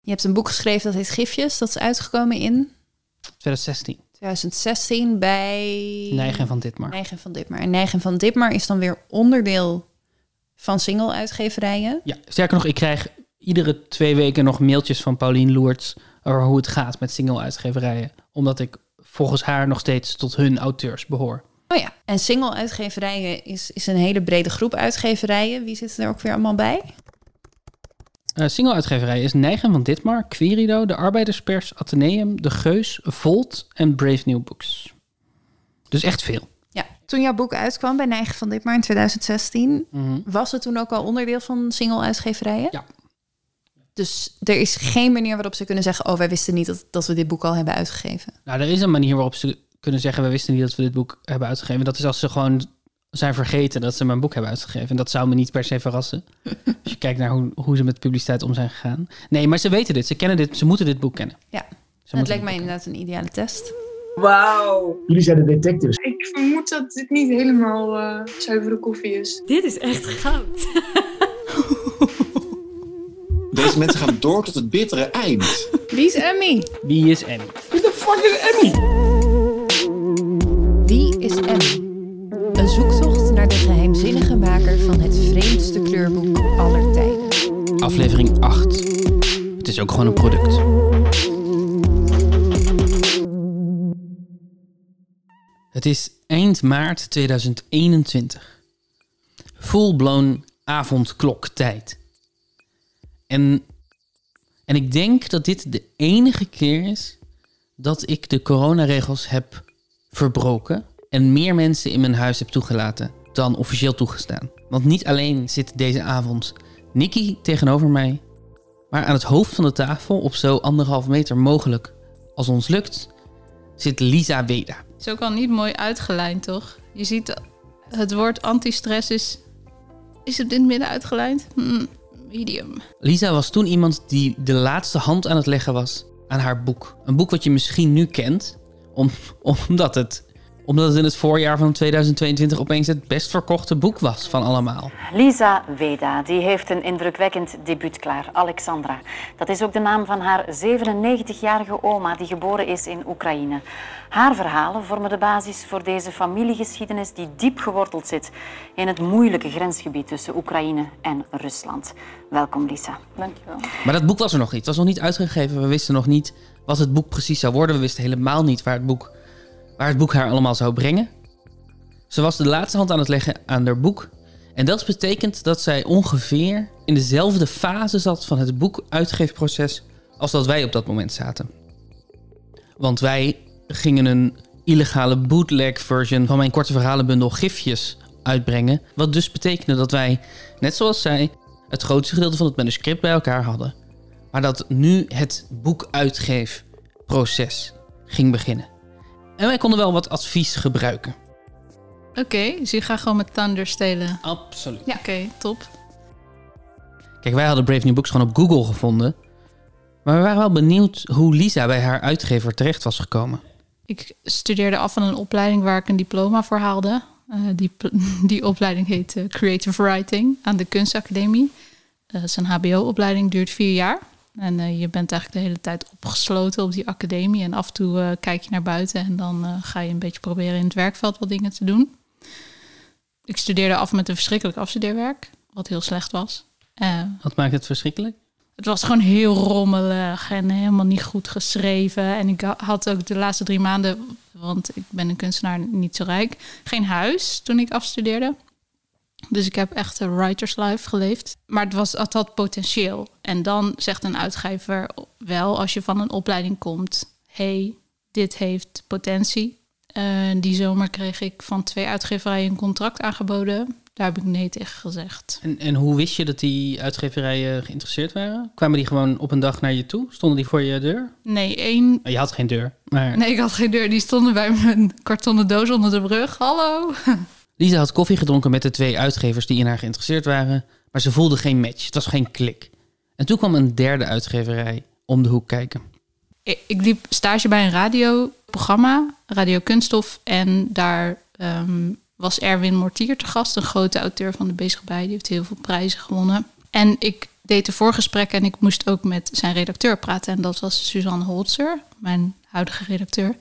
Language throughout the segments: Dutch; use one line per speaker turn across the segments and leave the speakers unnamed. Je hebt een boek geschreven dat heet Gifjes. Dat is uitgekomen in
2016.
2016 bij
Neigen van dit maar.
Neigen van Ditmar. En Neigen van Ditmar is dan weer onderdeel van single-uitgeverijen.
Ja, sterker nog, ik krijg iedere twee weken nog mailtjes van Paulien Loerts over hoe het gaat met single-uitgeverijen. Omdat ik volgens haar nog steeds tot hun auteurs behoor.
Oh ja, en single-uitgeverijen is, is een hele brede groep uitgeverijen. Wie zitten er ook weer allemaal bij?
Eh single-uitgeverij is Neigen van Ditmar, Querido, De Arbeiderspers, Atheneum, De Geus, Volt en Brave New Books. Dus echt veel.
Ja, toen jouw boek uitkwam bij Neigen van Ditmar in 2016, was het toen ook al onderdeel van single-uitgeverijen?
Ja.
Dus er is geen manier waarop ze kunnen zeggen: Oh, wij wisten niet dat, dat we dit boek al hebben uitgegeven.
Nou, er is een manier waarop ze kunnen zeggen... we wisten niet dat we dit boek hebben uitgegeven. Dat is als ze gewoon zijn vergeten dat ze mijn boek hebben uitgegeven. En dat zou me niet per se verrassen. als je kijkt naar hoe, hoe ze met publiciteit om zijn gegaan. Nee, maar ze weten dit. Ze kennen dit. Ze moeten dit boek kennen.
Ja,
Ze
dat
moeten
leek
dit
mij
boek
inderdaad een ideale test.
Wauw.
Jullie zijn de detectives.
Ik vermoed dat dit niet helemaal eh, zuivere koffie is.
Dit is echt goud.
Deze mensen gaan door tot het bittere eind.
Wie is Emmy?
kennen. Wie is Emmy?
Wie is Emmy? Een zoektocht naar de geheimzinnige maker van het vreemdste kleurboek aller tijden.
Aflevering 8. Het is ook gewoon een product. Het is eind maart 2021. Full-blown avondkloktijd. En, en ik denk dat dit de enige keer is dat ik de coronaregels heb verbroken en meer mensen in mijn huis heb toegelaten dan officieel toegestaan. Want niet alleen zit deze avond Nicky tegenover mij, maar aan het hoofd van de tafel, op zo anderhalf meter mogelijk als ons lukt, zit Lisa Weda.
is ook al niet mooi uitgelijnd, toch? Je ziet, het woord antistress is... Is het in het midden uitgelijnd? Hm, medium.
Lisa was toen iemand die de laatste hand aan het leggen was aan haar boek. Een boek wat je misschien nu kent, om, omdat, het, omdat het in het voorjaar van 2022 opeens het best verkochte boek was van allemaal.
Lisa Weda, die heeft een indrukwekkend debuut klaar. Alexandra. Dat is ook de naam van haar 97-jarige oma die geboren is in Oekraïne. Haar verhalen vormen de basis voor deze familiegeschiedenis die diep geworteld zit in het moeilijke grensgebied tussen Oekraïne en Rusland. Welkom Lisa.
Dankjewel.
Maar dat boek was er nog niet. Het was nog niet uitgegeven. We wisten nog niet wat het boek precies zou worden. We wisten helemaal niet waar het boek, waar het boek haar allemaal zou brengen. Ze was de laatste hand aan het leggen aan haar boek. En dat betekent dat zij ongeveer in dezelfde fase zat van het boekuitgeefproces als dat wij op dat moment zaten. Want wij gingen een illegale bootleg version van mijn korte verhalenbundel Gifjes uitbrengen. Wat dus betekende dat wij, net zoals zij, het grootste gedeelte van het manuscript bij elkaar hadden. Maar dat nu het boekuitgeefproces ging beginnen. En wij konden wel wat advies gebruiken.
Oké, dus je gaat gewoon met Thunder stelen.
Absoluut.
Oké, top.
Kijk, wij hadden Brave New Books gewoon op Google gevonden. Maar we waren wel benieuwd hoe Lisa bij haar uitgever terecht was gekomen.
Ik studeerde af van een opleiding waar ik een diploma voor haalde. Eh, die, die opleiding heet eh, Creative Writing aan de Kunstacademie. Eh, Het is een HBO-opleiding, duurt vier jaar. En eh, je bent eigenlijk de hele tijd opgesloten op die academie. En af en toe eh, kijk je naar buiten en dan eh, ga je een beetje proberen in het werkveld wat dingen te doen. Ik studeerde af met een verschrikkelijk afstudeerwerk, wat heel slecht was. Eh,
Wat maakt het verschrikkelijk?
het was gewoon heel rommelig en helemaal niet goed geschreven. En ik ha- had ook de laatste drie maanden, want ik ben een kunstenaar niet zo rijk, geen huis toen ik afstudeerde. Dus ik heb echt een writer's life geleefd. Maar het, was, het had potentieel. En dan zegt een uitgever wel, als je van een opleiding komt, hey, dit heeft potentie. Eh, die zomer kreeg ik van twee uitgeverijen een contract aangeboden. Daar heb ik nee tegen gezegd.
En, en hoe wist je dat die uitgeverijen geïnteresseerd waren? Kwamen die gewoon op een dag naar je toe? Stonden die voor je deur?
Nee, één.
Nou, Je had geen deur, maar
Nee, ik had geen deur. Die stonden bij mijn kartonnen doos onder de brug. Hallo.
Lisa had koffie gedronken met de twee uitgevers die in haar geïnteresseerd waren, maar ze voelde geen match. Het was geen klik. En toen kwam een derde uitgeverij om de hoek kijken.
Ik, ik liep stage bij een radioprogramma, Radio Kunststof. En daar ehm, was Erwin Mortier te gast, een grote auteur van de Bezig Bij. Die heeft heel veel prijzen gewonnen. En ik deed de voorgesprek en ik moest ook met zijn redacteur praten. En dat was Suzanne Holzer, mijn huidige redacteur.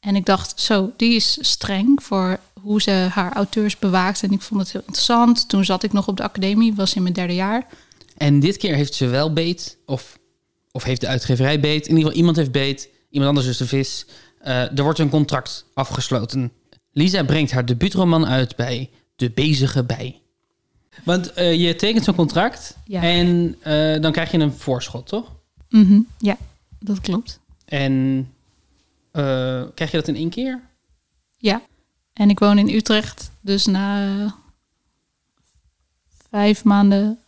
En ik dacht, zo, die is streng voor hoe ze haar auteurs bewaakt. En ik vond het heel interessant. Toen zat ik nog op de academie, was in mijn derde jaar.
En dit keer heeft ze wel beet, of, of heeft de uitgeverij beet. In ieder geval, iemand heeft beet, iemand anders is de vis. Eh, er wordt een contract afgesloten. Lisa brengt haar debuutroman uit bij De Bezige Bij. Want eh, je tekent zo'n contract
Ja.
en eh, dan krijg je een voorschot, toch?
Mhm, ja, dat klopt.
En eh, krijg je dat in één keer?
Ja. En ik woon in Utrecht, dus na eh, vijf maanden,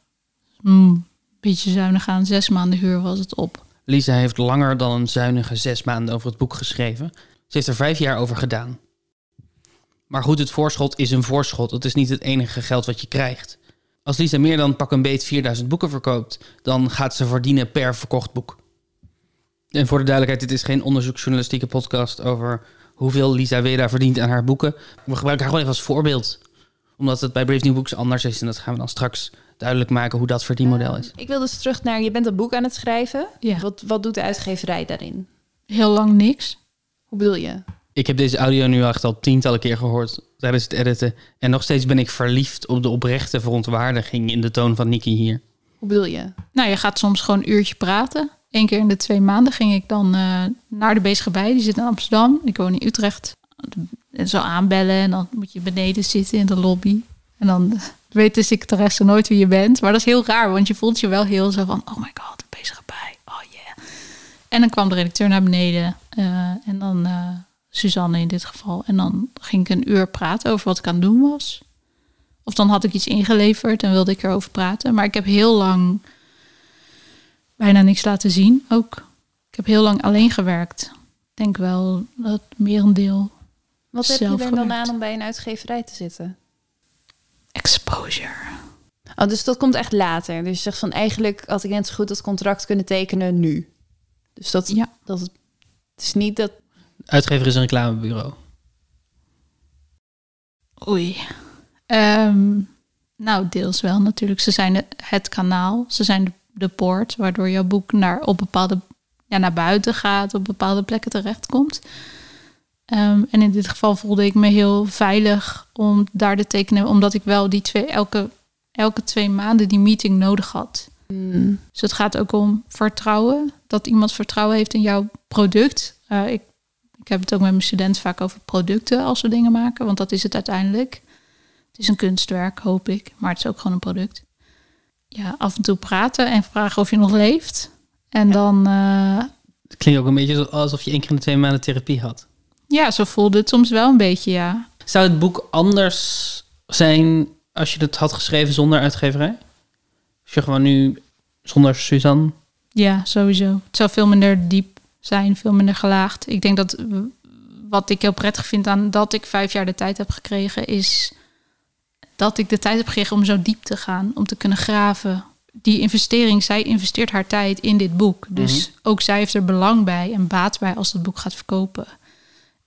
mm, beetje zuinig aan, zes maanden huur was het op.
Lisa heeft langer dan een zuinige zes maanden over het boek geschreven. Ze heeft er vijf jaar over gedaan. Maar goed, het voorschot is een voorschot. Het is niet het enige geld wat je krijgt. Als Lisa meer dan pak een beet 4000 boeken verkoopt, dan gaat ze verdienen per verkocht boek. En voor de duidelijkheid, dit is geen onderzoeksjournalistieke podcast over hoeveel Lisa Weda verdient aan haar boeken. We gebruiken haar gewoon even als voorbeeld. Omdat het bij Brave New Books anders is en dat gaan we dan straks duidelijk maken hoe dat verdienmodel is.
Ik wil dus terug naar, je bent dat boek aan het schrijven.
Ja.
Wat, wat doet de uitgeverij daarin?
Heel lang niks.
Hoe bedoel je?
Ik heb deze audio nu echt al tientallen keer gehoord tijdens het editen. En nog steeds ben ik verliefd op de oprechte verontwaardiging in de toon van Nicky hier.
Hoe bedoel je?
Nou, je gaat soms gewoon een uurtje praten. Eén keer in de twee maanden ging ik dan eh, naar de bezige bij. Die zit in Amsterdam. Ik woon in Utrecht. En zo aanbellen en dan moet je beneden zitten in de lobby. En dan weet dus de secretaresse nooit wie je bent. Maar dat is heel raar, want je voelt je wel heel zo van... Oh my god, de bezige bij. Oh yeah. En dan kwam de redacteur naar beneden. eh, en dan eh, Suzanne in dit geval. En dan ging ik een uur praten over wat ik aan het doen was. Of dan had ik iets ingeleverd en wilde ik erover praten. Maar ik heb heel lang bijna niks laten zien ook. Ik heb heel lang alleen gewerkt. Ik denk wel dat merendeel
Wat heb
Zelf
je er dan
gemaakt.
aan om bij een uitgeverij te zitten?
exposure.
Oh, dus dat komt echt later. Dus je zegt van eigenlijk had ik net zo goed dat contract kunnen tekenen nu. Dus dat,
Ja.
dat het is niet dat.
Uitgever is een reclamebureau.
Oei. Ehm, nou, deels wel natuurlijk. Ze zijn het- het kanaal, ze zijn de, de poort waardoor jouw boek naar, op bepaalde, ja, naar buiten gaat, op bepaalde plekken terechtkomt. Ehm, en in dit geval voelde ik me heel veilig om daar te tekenen, omdat ik wel die twee, elke, elke twee maanden die meeting nodig had. Dus het gaat ook om vertrouwen. Dat iemand vertrouwen heeft in jouw product. Eh, ik, ik heb het ook met mijn studenten vaak over producten als we dingen maken. Want dat is het uiteindelijk. Het is een kunstwerk, hoop ik. Maar het is ook gewoon een product. Ja, af en toe praten en vragen of je nog leeft. En dan, eh,
Het klinkt ook een beetje zo- alsof je één keer in de twee maanden therapie had.
ja, zo voelde het soms wel een beetje, ja.
Zou het boek anders zijn als je het had geschreven zonder uitgeverij? Als je gewoon nu zonder Suzanne...
Ja, sowieso. Het zou veel minder diep zijn, veel minder gelaagd. Ik denk dat w- wat ik heel prettig vind aan dat ik vijf jaar de tijd heb gekregen, is dat ik de tijd heb gekregen om zo diep te gaan, om te kunnen graven. Die investering, zij investeert haar tijd in dit boek. Dus ook zij heeft er belang bij en baat bij als dat boek gaat verkopen.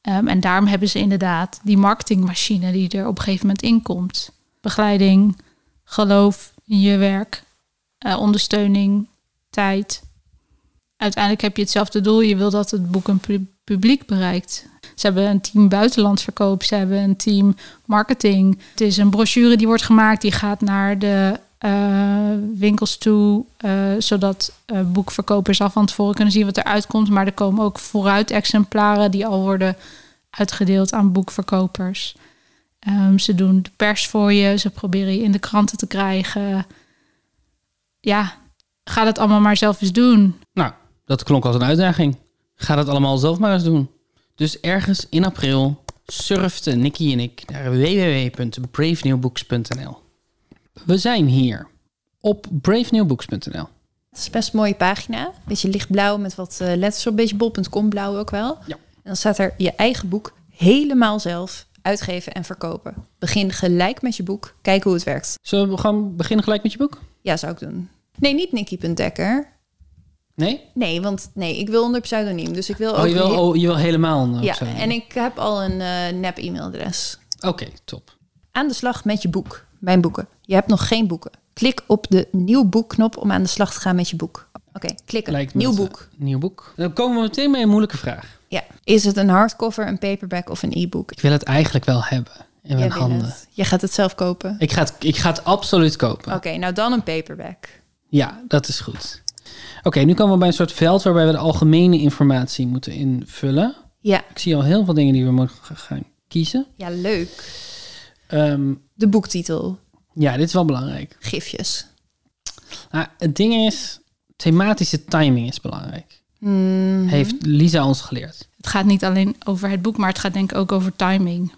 Ehm, en daarom hebben ze inderdaad die marketingmachine die er op een gegeven moment in komt. Begeleiding, geloof in je werk, eh, ondersteuning, tijd. Uiteindelijk heb je hetzelfde doel. Je wil dat het boek een pu- publiek bereikt. Ze hebben een team buitenlandverkoop. Ze hebben een team marketing. Het is een brochure die wordt gemaakt. Die gaat naar de eh, winkels toe. eh, zodat eh, boekverkopers al van tevoren kunnen zien wat eruit komt. Maar er komen ook vooruit exemplaren die al worden uitgedeeld aan boekverkopers. Ehm, ze doen de pers voor je. Ze proberen je in de kranten te krijgen. Ja, ga dat allemaal maar zelf eens doen.
Nou, dat klonk als een uitdaging. Ga dat allemaal zelf maar eens doen. Dus ergens in april surfte Nicky en ik naar www.bravenewbooks.nl. We zijn hier op bravenewbooks.nl.
Het is best een mooie pagina. Beetje lichtblauw met wat eh, letters op. Beetje bol.com blauw ook wel.
Ja.
En dan staat er je eigen boek helemaal zelf uitgeven en verkopen. Begin gelijk met je boek. Kijk hoe het werkt.
Zullen we gewoon beginnen gelijk met je boek?
Ja, zou ik doen. Nee, niet Nicky.dekker.
Nee?
Nee, want nee, ik wil onder pseudoniem. Dus ik wil
Oh,
ook...
je wil, oh, je wil helemaal... eh,
ja,
zo.
en ik heb al een eh, nep-e-mailadres.
Oké, top.
Aan de slag met je boek. Mijn boeken. Je hebt nog geen boeken. Klik op de nieuw boekknop om aan de slag te gaan met je boek. Oké, klikken.
Lijkt me
nieuw
dat,
boek.
eh, nieuw boek. Dan komen we meteen bij een moeilijke vraag.
Ja. Is het een hardcover, een paperback of een e-book?
Ik wil het eigenlijk wel hebben in
Jij
mijn
wil
handen.
het. Je gaat het zelf kopen.
Ik ga, het, ik ga het absoluut kopen.
Oké, nou dan een paperback.
Ja, dat is goed. Oké, nu komen we bij een soort veld waarbij we de algemene informatie moeten invullen.
Ja.
Ik zie al heel veel dingen die we moeten g- gaan kiezen.
Ja, leuk.
Ehm,
De boektitel.
ja, dit is wel belangrijk.
Gifjes.
Nou, het ding is, thematische timing is belangrijk. Heeft Lisa ons geleerd.
Het gaat niet alleen over het boek, maar het gaat denk ik ook over timing.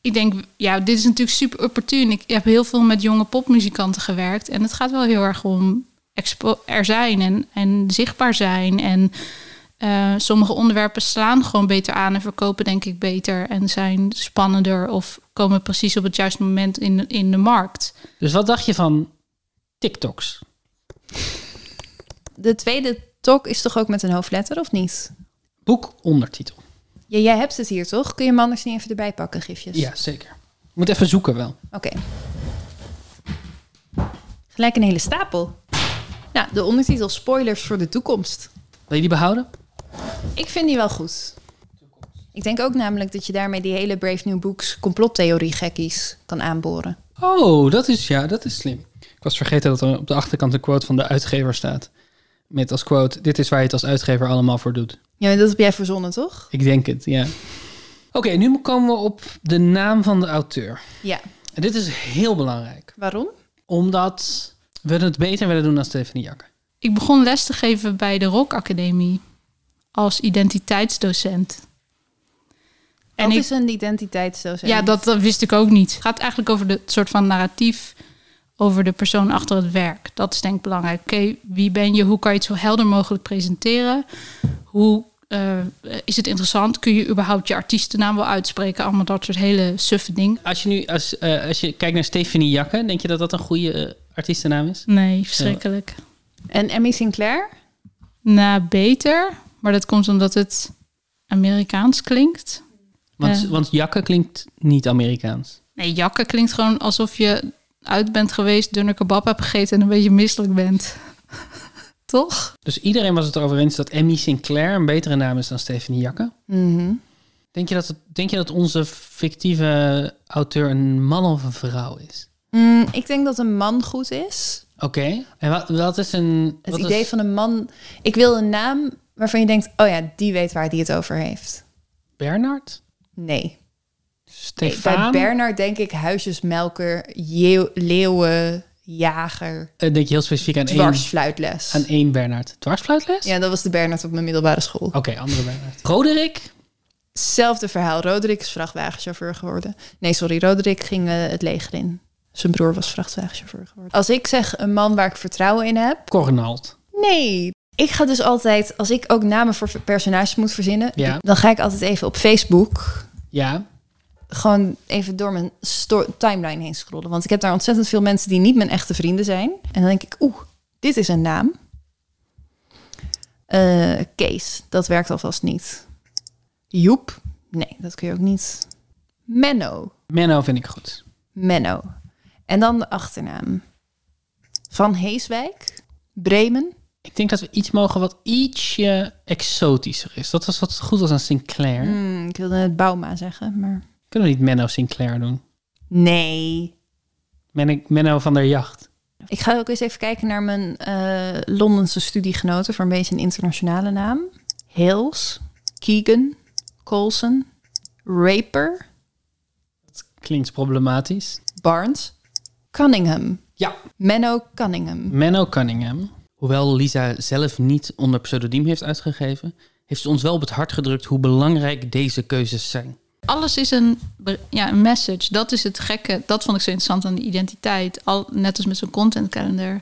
Ik denk, ja, dit is natuurlijk super opportun. Ik heb heel veel met jonge popmuzikanten gewerkt. En het gaat wel heel erg om expo- er zijn en, en zichtbaar zijn. En eh, sommige onderwerpen slaan gewoon beter aan en verkopen denk ik beter. En zijn spannender of komen precies op het juiste moment in, in de markt.
Dus wat dacht je van TikToks?
De tweede tok is toch ook met een hoofdletter, of niet?
Boek ondertitel.
Ja, jij hebt het hier, toch? Kun je hem anders niet even erbij pakken, gifjes?
Ja, zeker. Moet even zoeken wel.
Oké. Gelijk een hele stapel. Nou, de ondertitel Spoilers voor de toekomst.
Wil je die behouden?
Ik vind die wel goed. Ik denk ook namelijk dat je daarmee die hele Brave New Books complottheorie gekkies kan aanboren.
Oh, dat is ja, dat is slim. Ik was vergeten dat er op de achterkant een quote van de uitgever staat. Met als quote: Dit is waar je het als uitgever allemaal voor doet.
Ja, maar dat heb jij verzonnen, toch?
Ik denk het, ja. Oké, nu komen we op de naam van de auteur.
Ja.
En dit is heel belangrijk,
Waarom?
omdat we het beter willen doen dan Stephanie Jakke.
Ik begon les te geven bij de Rock Academie als identiteitsdocent.
En is een identiteitsdoos.
Ja, dat, dat wist ik ook niet. Het gaat eigenlijk over de het soort van narratief over de persoon achter het werk. Dat is denk ik belangrijk. Oké, wie ben je? Hoe kan je het zo helder mogelijk presenteren? Hoe eh, is het interessant? Kun je überhaupt je artiestennaam wel uitspreken? Allemaal dat soort hele suffe dingen.
Als je nu als, eh, als je kijkt naar Stephanie Jakke, denk je dat dat een goede eh, artiestennaam is?
Nee, verschrikkelijk.
En Emmy Sinclair?
Na beter, maar dat komt omdat het Amerikaans klinkt.
Want,
Ja.
want Jakke klinkt niet Amerikaans.
Nee, jakken klinkt gewoon alsof je uit bent geweest, dunner kebab hebt gegeten en een beetje misselijk bent. Toch?
Dus iedereen was het erover eens dat Emmy Sinclair een betere naam is dan Stephanie Jakke.
Mhm.
Denk, je dat het- denk je dat onze fictieve auteur een man of een vrouw is?
Mm, ik denk dat een man goed is.
Oké. En wat, wat is een...
Het
wat is-
idee van een man. Ik wil een naam waarvan je denkt: oh ja, die weet waar die het over heeft.
Bernard?
Nee.
Stefan?
Bij Bernard denk ik huisjesmelker, jeeuw- leeuwen, jager,
Eh, denk je heel specifiek aan één,
dwarsfluitles.
aan één Bernard. Dwarsfluitles?
Ja, dat was de Bernard op mijn middelbare school.
Oké, andere Bernard. Roderick?
Hetzelfde verhaal. Roderick is vrachtwagenchauffeur geworden. Nee, sorry, Roderick ging eh, het leger in. Zijn broer was vrachtwagenchauffeur geworden. Als ik zeg een man waar ik vertrouwen in heb,
Cornald.
Nee. Ik ga dus altijd, als ik ook namen voor personages moet verzinnen,
Ja.
dan ga ik altijd even op Facebook
Ja.
gewoon even door mijn sto- timeline heen scrollen. Want ik heb daar ontzettend veel mensen die niet mijn echte vrienden zijn. En dan denk ik, oeh, dit is een naam. Eh, Kees, dat werkt alvast niet. Joep, nee, dat kun je ook niet. Menno,
Menno vind ik goed.
Menno. En dan de achternaam. Van Heeswijk, Bremen.
Ik denk dat we iets mogen wat ietsje exotischer is. Dat was wat goed was aan Sinclair.
Hmm, ik wilde het Bauma zeggen, maar...
Kunnen we niet Menno Sinclair doen?
Nee.
Men- Menno van der Jacht.
Ik ga ook eens even kijken naar mijn eh, Londense studiegenoten voor een beetje een internationale naam. Hills, Keegan, Colson, Raper,
Klinkt problematisch.
Barnes, Cunningham.
Ja.
Menno Cunningham.
Menno Cunningham. Hoewel Lisa zelf niet onder pseudoniem heeft uitgegeven, heeft ze ons wel op het hart gedrukt hoe belangrijk deze keuzes zijn.
alles is een, ber- ja, een message. Dat is het gekke. Dat vond ik zo interessant aan de identiteit. Al, net als met zo'n content calendar.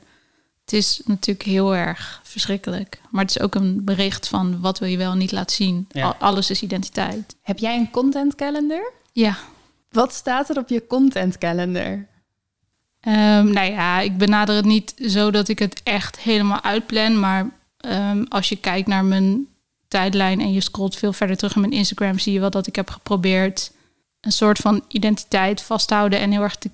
Het is natuurlijk heel erg verschrikkelijk. Maar het is ook een bericht van wat wil je wel en niet laten zien.
Ja.
Al- alles is identiteit.
Heb jij een content calendar?
Ja.
Wat staat er op je content calendar?
Ehm, nou ja, ik benader het niet zo dat ik het echt helemaal uitplan. Maar ehm, als je kijkt naar mijn tijdlijn en je scrolt veel verder terug in mijn Instagram, zie je wel dat ik heb geprobeerd een soort van identiteit vast te houden en heel erg te,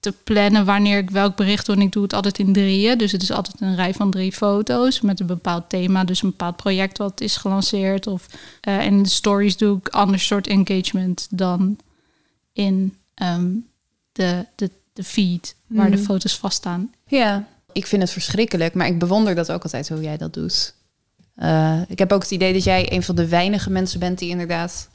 te plannen wanneer ik welk bericht doe. En ik doe het altijd in drieën. Dus het is altijd een rij van drie foto's met een bepaald thema. Dus een bepaald project wat is gelanceerd. Of, eh, en in de stories doe ik ander soort engagement dan in ehm, de, de, de feed waar de
Mm.
foto's vaststaan.
Ja, ik vind het verschrikkelijk, maar ik bewonder dat ook altijd hoe jij dat doet. Eh, ik heb ook het idee dat jij een van de weinige mensen bent die inderdaad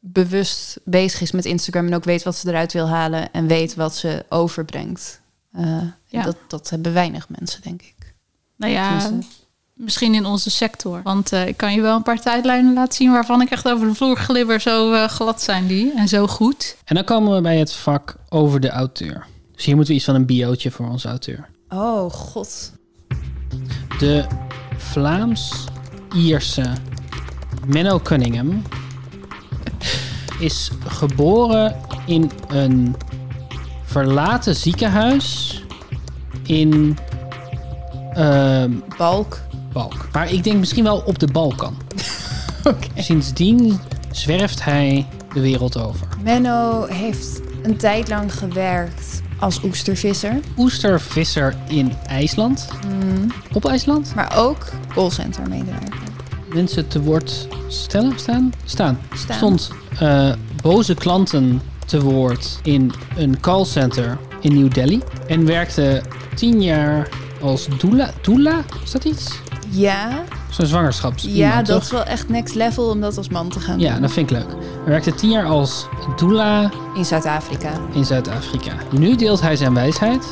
bewust bezig is met Instagram en ook weet wat ze eruit wil halen en weet wat ze overbrengt. Eh,
Ja.
dat, dat hebben weinig mensen, denk ik.
Nou ja,
Tenminste.
misschien in onze sector. Want eh, ik kan je wel een paar tijdlijnen laten zien waarvan ik echt over de vloer glibber. Zo eh, glad zijn die en zo goed.
En dan komen we bij het vak over de auteur. Dus hier moeten we iets van een biootje voor onze auteur.
Oh god.
De Vlaams-Ierse Menno Cunningham is geboren in een verlaten ziekenhuis in ehm,
Balk.
Balk. Maar ik denk misschien wel op de Balkan. Sindsdien zwerft hij de wereld over.
Menno heeft een tijd lang gewerkt als oestervisser,
Oestervisser in IJsland. Op IJsland?
maar ook callcenter medewerker.
mensen te woord stellen, staan? Staan.
Staan.
Stond eh, boze klanten te woord in een callcenter in New Delhi. En werkte tien jaar als doula. Doula? Is dat iets?
Ja,
Zo'n zwangerschaps.
ja
iemand,
dat
toch?
is wel echt next level om dat als man te gaan
Ja,
doen.
dat vind ik leuk. Hij werkte tien jaar als doula
In Zuid-Afrika.
in Zuid-Afrika. Nu deelt hij zijn wijsheid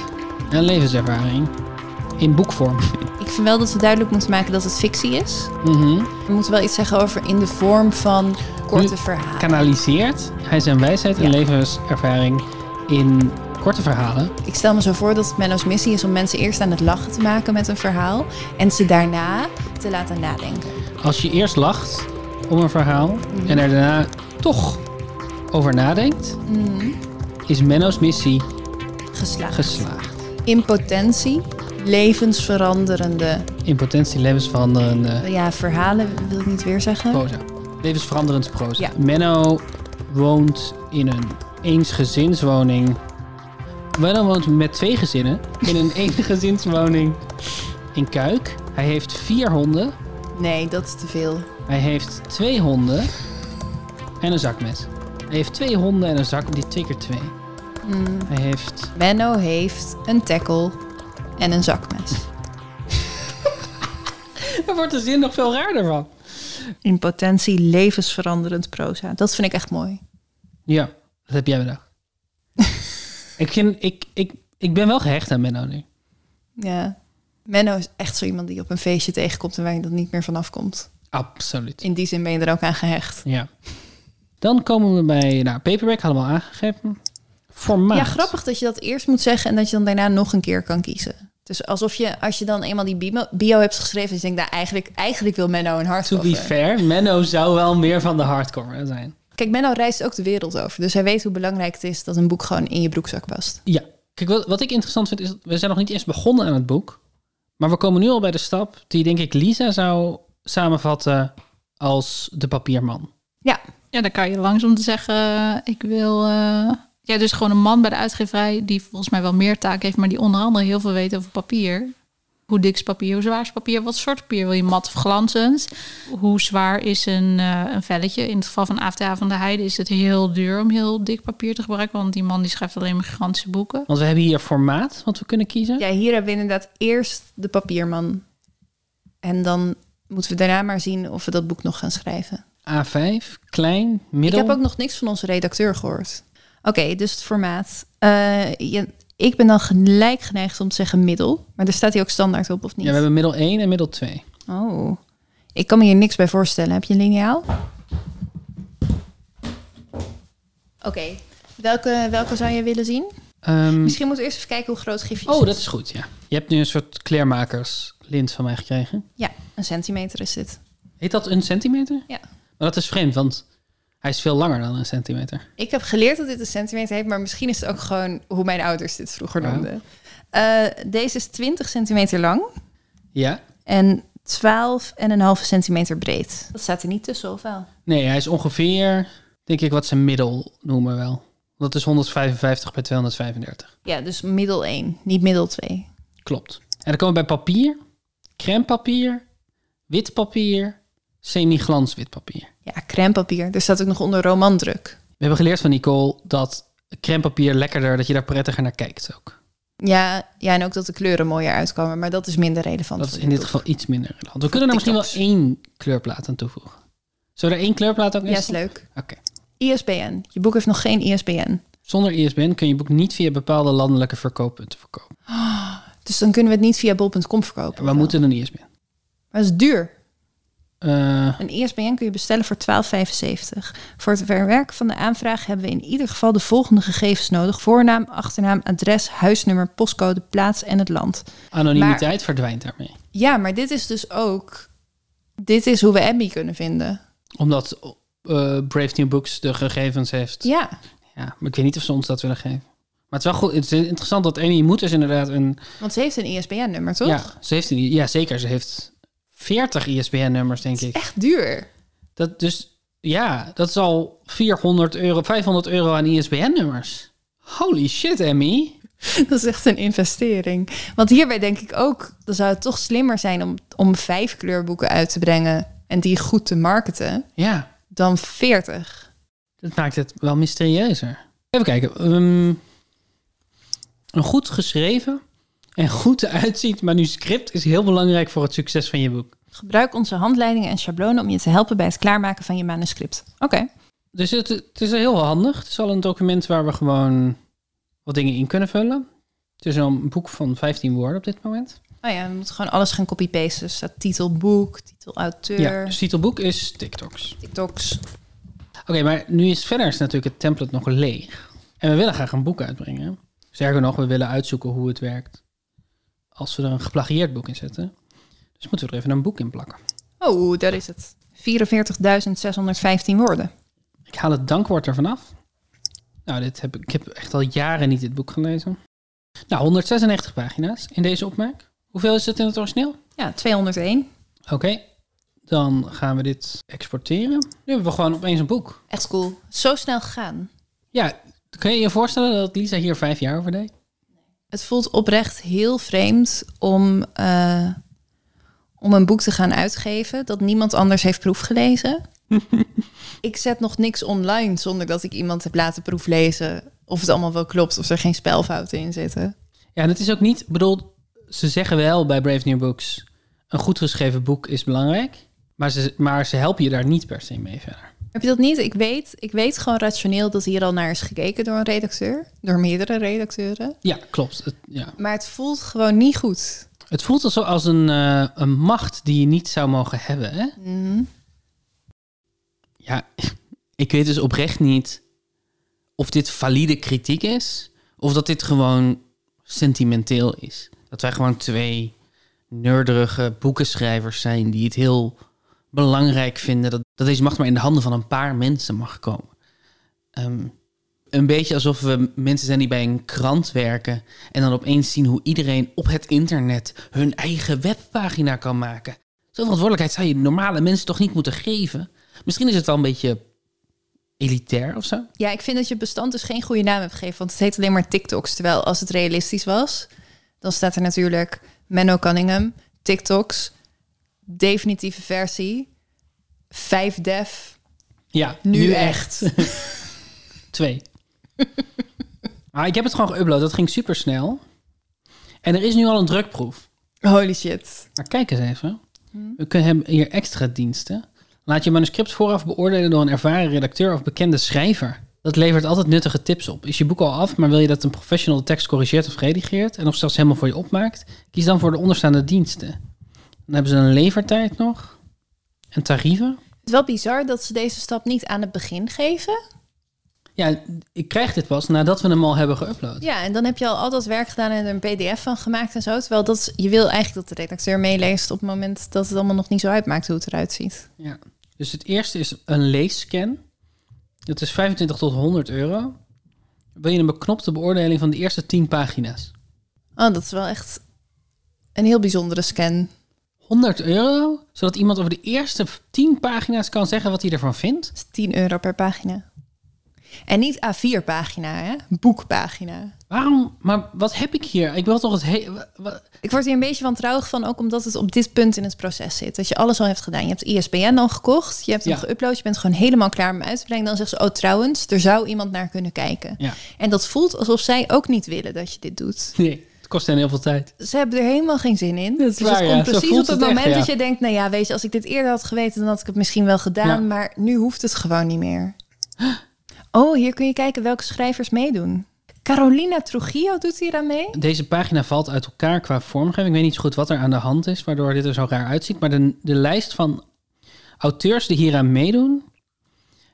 en levenservaring in boekvorm.
Ik vind wel dat we duidelijk moeten maken dat het fictie is.
Mhm.
We moeten wel iets zeggen over in de vorm van korte
Nu-
verhalen.
Kanaliseert hij zijn wijsheid en
Ja.
levenservaring in korte verhalen
Ik stel me zo voor dat het Menno's missie is om mensen eerst aan het lachen te maken met een verhaal. En ze daarna te laten nadenken.
Als je eerst lacht om een verhaal en er daarna toch over nadenkt, is Menno's missie
Geslaagd.
geslaagd.
in potentie levensveranderende
In potentie levensveranderende
ja, verhalen, wil ik niet weer zeggen.
proza. Levensveranderend proza.
Ja.
Menno woont in een eensgezinswoning. Menno woont met twee gezinnen in een eengezinswoning in Kuik. Hij heeft vier honden.
Nee, dat is te veel.
Hij heeft twee honden en een zakmes. Hij heeft twee honden en een zak, die twee keer twee. Hij heeft
Menno heeft een tackle en een zakmes.
Daar wordt de zin nog veel raarder van.
In potentie levensveranderend proza. Dat vind ik echt mooi.
Ja, dat heb jij bedacht. ik, vind, ik, ik, ik ben wel gehecht aan Menno nu.
Ja. Menno is echt zo iemand die op een feestje tegenkomt en waar je dan niet meer vanaf komt.
Absoluut.
In die zin ben je er ook aan gehecht.
Ja. Dan komen we bij, nou, paperback hadden we al aangegeven. Formaat.
Ja, grappig dat je dat eerst moet zeggen en dat je dan daarna nog een keer kan kiezen. Dus alsof je, als je dan eenmaal die bio, bio hebt geschreven, dus je denkt, nou eigenlijk, eigenlijk wil Menno een
To be
hardcover.
fair, Menno zou wel meer van de hardcore zijn.
Kijk, Menno reist ook de wereld over, dus hij weet hoe belangrijk het is dat een boek gewoon in je broekzak past.
Ja. Kijk, wat, wat ik interessant vind is, we zijn nog niet eens begonnen aan het boek. Maar we komen nu al bij de stap die, denk ik, Lisa zou samenvatten als de papierman.
Ja, dan kan je langs om te zeggen, eh, ik wil... eh, ja, dus gewoon een man bij de uitgeverij die volgens mij wel meer taken heeft, maar die onder andere heel veel weet over papier. Hoe dik is papier, hoe zwaar is papier, wat soort papier wil je, mat of glanzend? Hoe zwaar is een, eh, een velletje? In het geval van AFTA van de Heide is het heel duur om heel dik papier te gebruiken, want die man die schrijft alleen maar gigantische boeken.
Want we hebben hier formaat wat we kunnen kiezen.
Ja, hier hebben we inderdaad eerst de papierman. En dan moeten we daarna maar zien of we dat boek nog gaan schrijven.
A5, klein, middel.
Ik heb ook nog niks van onze redacteur gehoord. Oké, dus het formaat. Eh, je- ik ben dan gelijk geneigd om te zeggen middel. Maar daar staat hij ook standaard op, of niet?
Ja, we hebben middel 1 en middel 2.
Oh, ik kan me hier niks bij voorstellen. Heb je een liniaal? Oké, welke, welke zou je willen zien?
Ehm,
Misschien moeten we eerst even kijken hoe groot gifjes
oh, dat is goed, ja. Je hebt nu een soort kleermakerslint van mij gekregen.
Ja, een centimeter is dit.
Heet dat een centimeter?
Ja.
Maar dat is vreemd, want hij is veel langer dan een centimeter.
Ik heb geleerd dat dit een centimeter heet, maar misschien is het ook gewoon hoe mijn ouders dit vroeger
Ja.
noemden. Eh, deze is 20 centimeter lang.
Ja?
En 12 en een halve centimeter breed. Dat staat er niet tussen, of wel?
Nee, hij is ongeveer, denk ik, wat ze middel noemen wel. Dat is 155 bij 235.
Ja, dus middel 1, niet middel 2.
Klopt. En dan komen we bij papier. Crème papier, wit papier, semi-glans wit papier.
Ja, crèmepapier. Er staat ook nog onder romandruk.
We hebben geleerd van Nicole dat crème papier lekkerder, dat je daar prettiger naar kijkt ook.
Ja, ja, en ook dat de kleuren mooier uitkomen, maar dat is minder relevant.
Dat is
voor
in dit
doel.
geval iets minder relevant. We kunnen er misschien wel
TikToks.
één kleurplaat aan toevoegen. Zullen we er één kleurplaat ook in
Ja, is
stoppen?
leuk.
Oké.
ISBN. Je boek heeft nog geen ISBN.
Zonder ISBN kun je boek niet via bepaalde landelijke verkooppunten verkopen.
Dus dan kunnen we het niet via bol.com verkopen.
We moeten een ISBN.
Maar dat is duur.
Eh,
Een ISBN kun je bestellen voor 12,75. Voor het verwerken van de aanvraag hebben we in ieder geval de volgende gegevens nodig: voornaam, achternaam, adres, huisnummer, postcode, plaats en het land.
anonimiteit verdwijnt daarmee.
Ja, maar dit is dus ook. Dit is hoe we Abby kunnen vinden.
Omdat eh, Brave New Books de gegevens heeft.
Ja,
Ja, maar ik weet niet of ze ons dat willen geven. Maar het is wel goed. Het is interessant dat Amy moet dus inderdaad een.
want ze heeft een E ISBN-nummer, toch?
Ja, ze heeft een, ja, zeker. Ze heeft E 40 ISBN-nummers, denk ik.
Echt duur.
Dat dus ja, dat is al 400 euro, 500 euro aan E ISBN-nummers. Holy shit, Emmy.
Dat is echt een investering. Want hierbij denk ik ook, dan zou het toch slimmer zijn om, om vijf kleurboeken uit te brengen en die goed te marketen,
Ja,
dan 40.
dat maakt het wel mysterieuzer. Even kijken. ehm, een goed geschreven en goed uitziend manuscript is heel belangrijk voor het succes van je boek.
Gebruik onze handleidingen en schablonen om je te helpen bij het klaarmaken van je manuscript. Oké.
Dus het, het is heel handig. Het is al een document waar we gewoon wat dingen in kunnen vullen. Het is een boek van 15 woorden op dit moment.
Oh ja, we moeten gewoon alles gaan copy-pasten. Dus staat titel boek, titel auteur,
Ja, dus titelboek is TikToks.
TikToks.
Oké, maar nu is verder is natuurlijk het template nog leeg. En we willen graag een boek uitbrengen. Sterker nog, we willen uitzoeken hoe het werkt. Als we er een geplagieerd boek in zetten. Dus moeten we er even een boek in plakken.
Oh, daar is het. 44.615 woorden.
Ik haal het dankwoord ervan af. Nou, dit heb ik, ik heb echt al jaren niet dit boek gelezen. Nou, 196 pagina's in deze opmerk. Hoeveel is het in het origineel?
Ja, 201.
Oké, dan gaan we dit exporteren. Nu hebben we gewoon opeens een boek.
Echt cool. Zo snel gegaan.
Ja, kun je je voorstellen dat Lisa hier vijf jaar over deed?
Het voelt oprecht heel vreemd om, eh, om een boek te gaan uitgeven dat niemand anders heeft proefgelezen. ik zet nog niks online zonder dat ik iemand heb laten proeflezen of het allemaal wel klopt of er geen spelfouten in zitten.
Ja, en het is ook niet, ik bedoel, ze zeggen wel bij Brave New Books, een goed geschreven boek is belangrijk, maar ze, maar ze helpen je daar niet per se mee verder.
Heb je dat niet? Ik weet, ik weet gewoon rationeel dat hier al naar is gekeken door een redacteur, door meerdere redacteuren.
Ja, klopt. Het, ja.
Maar het voelt gewoon niet goed.
het voelt alsof als een, eh, een macht die je niet zou mogen hebben. Hè?
Mm.
Ja, ik weet dus oprecht niet of dit valide kritiek is, of dat dit gewoon sentimenteel is. Dat wij gewoon twee nerderige boekenschrijvers zijn die het heel belangrijk vinden dat, dat deze macht maar in de handen van een paar mensen mag komen. Ehm, een beetje alsof we mensen zijn die bij een krant werken en dan opeens zien hoe iedereen op het internet hun eigen webpagina kan maken. Zo'n verantwoordelijkheid zou je normale mensen toch niet moeten geven? Misschien is het wel een beetje elitair of zo.
Ja, ik vind dat je het bestand dus geen goede naam hebt gegeven. Want het heet alleen maar TikToks. Terwijl als het realistisch was, dan staat er natuurlijk Menno Cunningham, TikToks, definitieve versie, 5def,
Ja,
nu, echt.
Twee. maar Ah, ik heb het gewoon geüpload. Dat ging super snel. En er is nu al een drukproef.
Holy shit.
Maar Nou, kijk eens even. We kunnen hebben hier extra diensten. Laat je manuscript vooraf beoordelen door een ervaren redacteur of bekende schrijver. Dat levert altijd nuttige tips op. Is je boek al af, maar wil je dat een professional de tekst corrigeert of redigeert en of zelfs helemaal voor je opmaakt? Kies dan voor de onderstaande diensten. Dan hebben ze een levertijd nog en tarieven.
Het is wel bizar dat ze deze stap niet aan het begin geven.
Ja, ik krijg dit pas nadat we hem al hebben geüpload.
Ja, en dan heb je al al dat werk gedaan en er een pdf van gemaakt en zo. Terwijl dat, is- je wil eigenlijk dat de redacteur meeleest op het moment dat het allemaal nog niet zo uitmaakt hoe het eruit ziet.
Ja. Dus het eerste is een leesscan. Dat is 25 tot 100 euro. Wil je een beknopte beoordeling van de eerste 10 pagina's?
Oh, dat is wel echt een heel bijzondere scan.
100 euro? Zodat iemand over de eerste 10 pagina's kan zeggen wat hij ervan vindt?
is 10 euro per pagina. En niet A4-pagina, hè? Boekpagina.
Waarom? Maar wat heb ik hier? Ik wil toch het he- wa- wa-
Ik word hier een beetje wantrouwig van, ook omdat het op dit punt in het proces zit. Dat je alles al hebt gedaan. Je hebt E ISBN al gekocht, je hebt hem
Ja.
geüpload, je bent gewoon helemaal klaar om hem uit te brengen. Dan zegt ze, oh trouwens, er zou iemand naar kunnen kijken.
Ja.
En dat voelt alsof zij ook niet willen dat je dit doet.
Nee, het kost hen heel veel tijd.
Ze hebben er helemaal geen zin in.
Dat is
dus
waar,
het
ja.
komt
Zo
precies
voelt
op het,
het echt,
moment dat
ja.
je denkt, nou ja, weet je, als ik dit eerder had geweten, dan had ik het misschien wel gedaan.
Ja.
Maar nu hoeft het gewoon niet meer. Oh, hier kun je kijken welke schrijvers meedoen. Carolina Trujillo doet hier aan mee.
Deze pagina valt uit elkaar qua vormgeving. Ik weet niet zo goed wat er aan de hand is, waardoor dit er zo raar uitziet. Maar de, de lijst van auteurs die hieraan meedoen,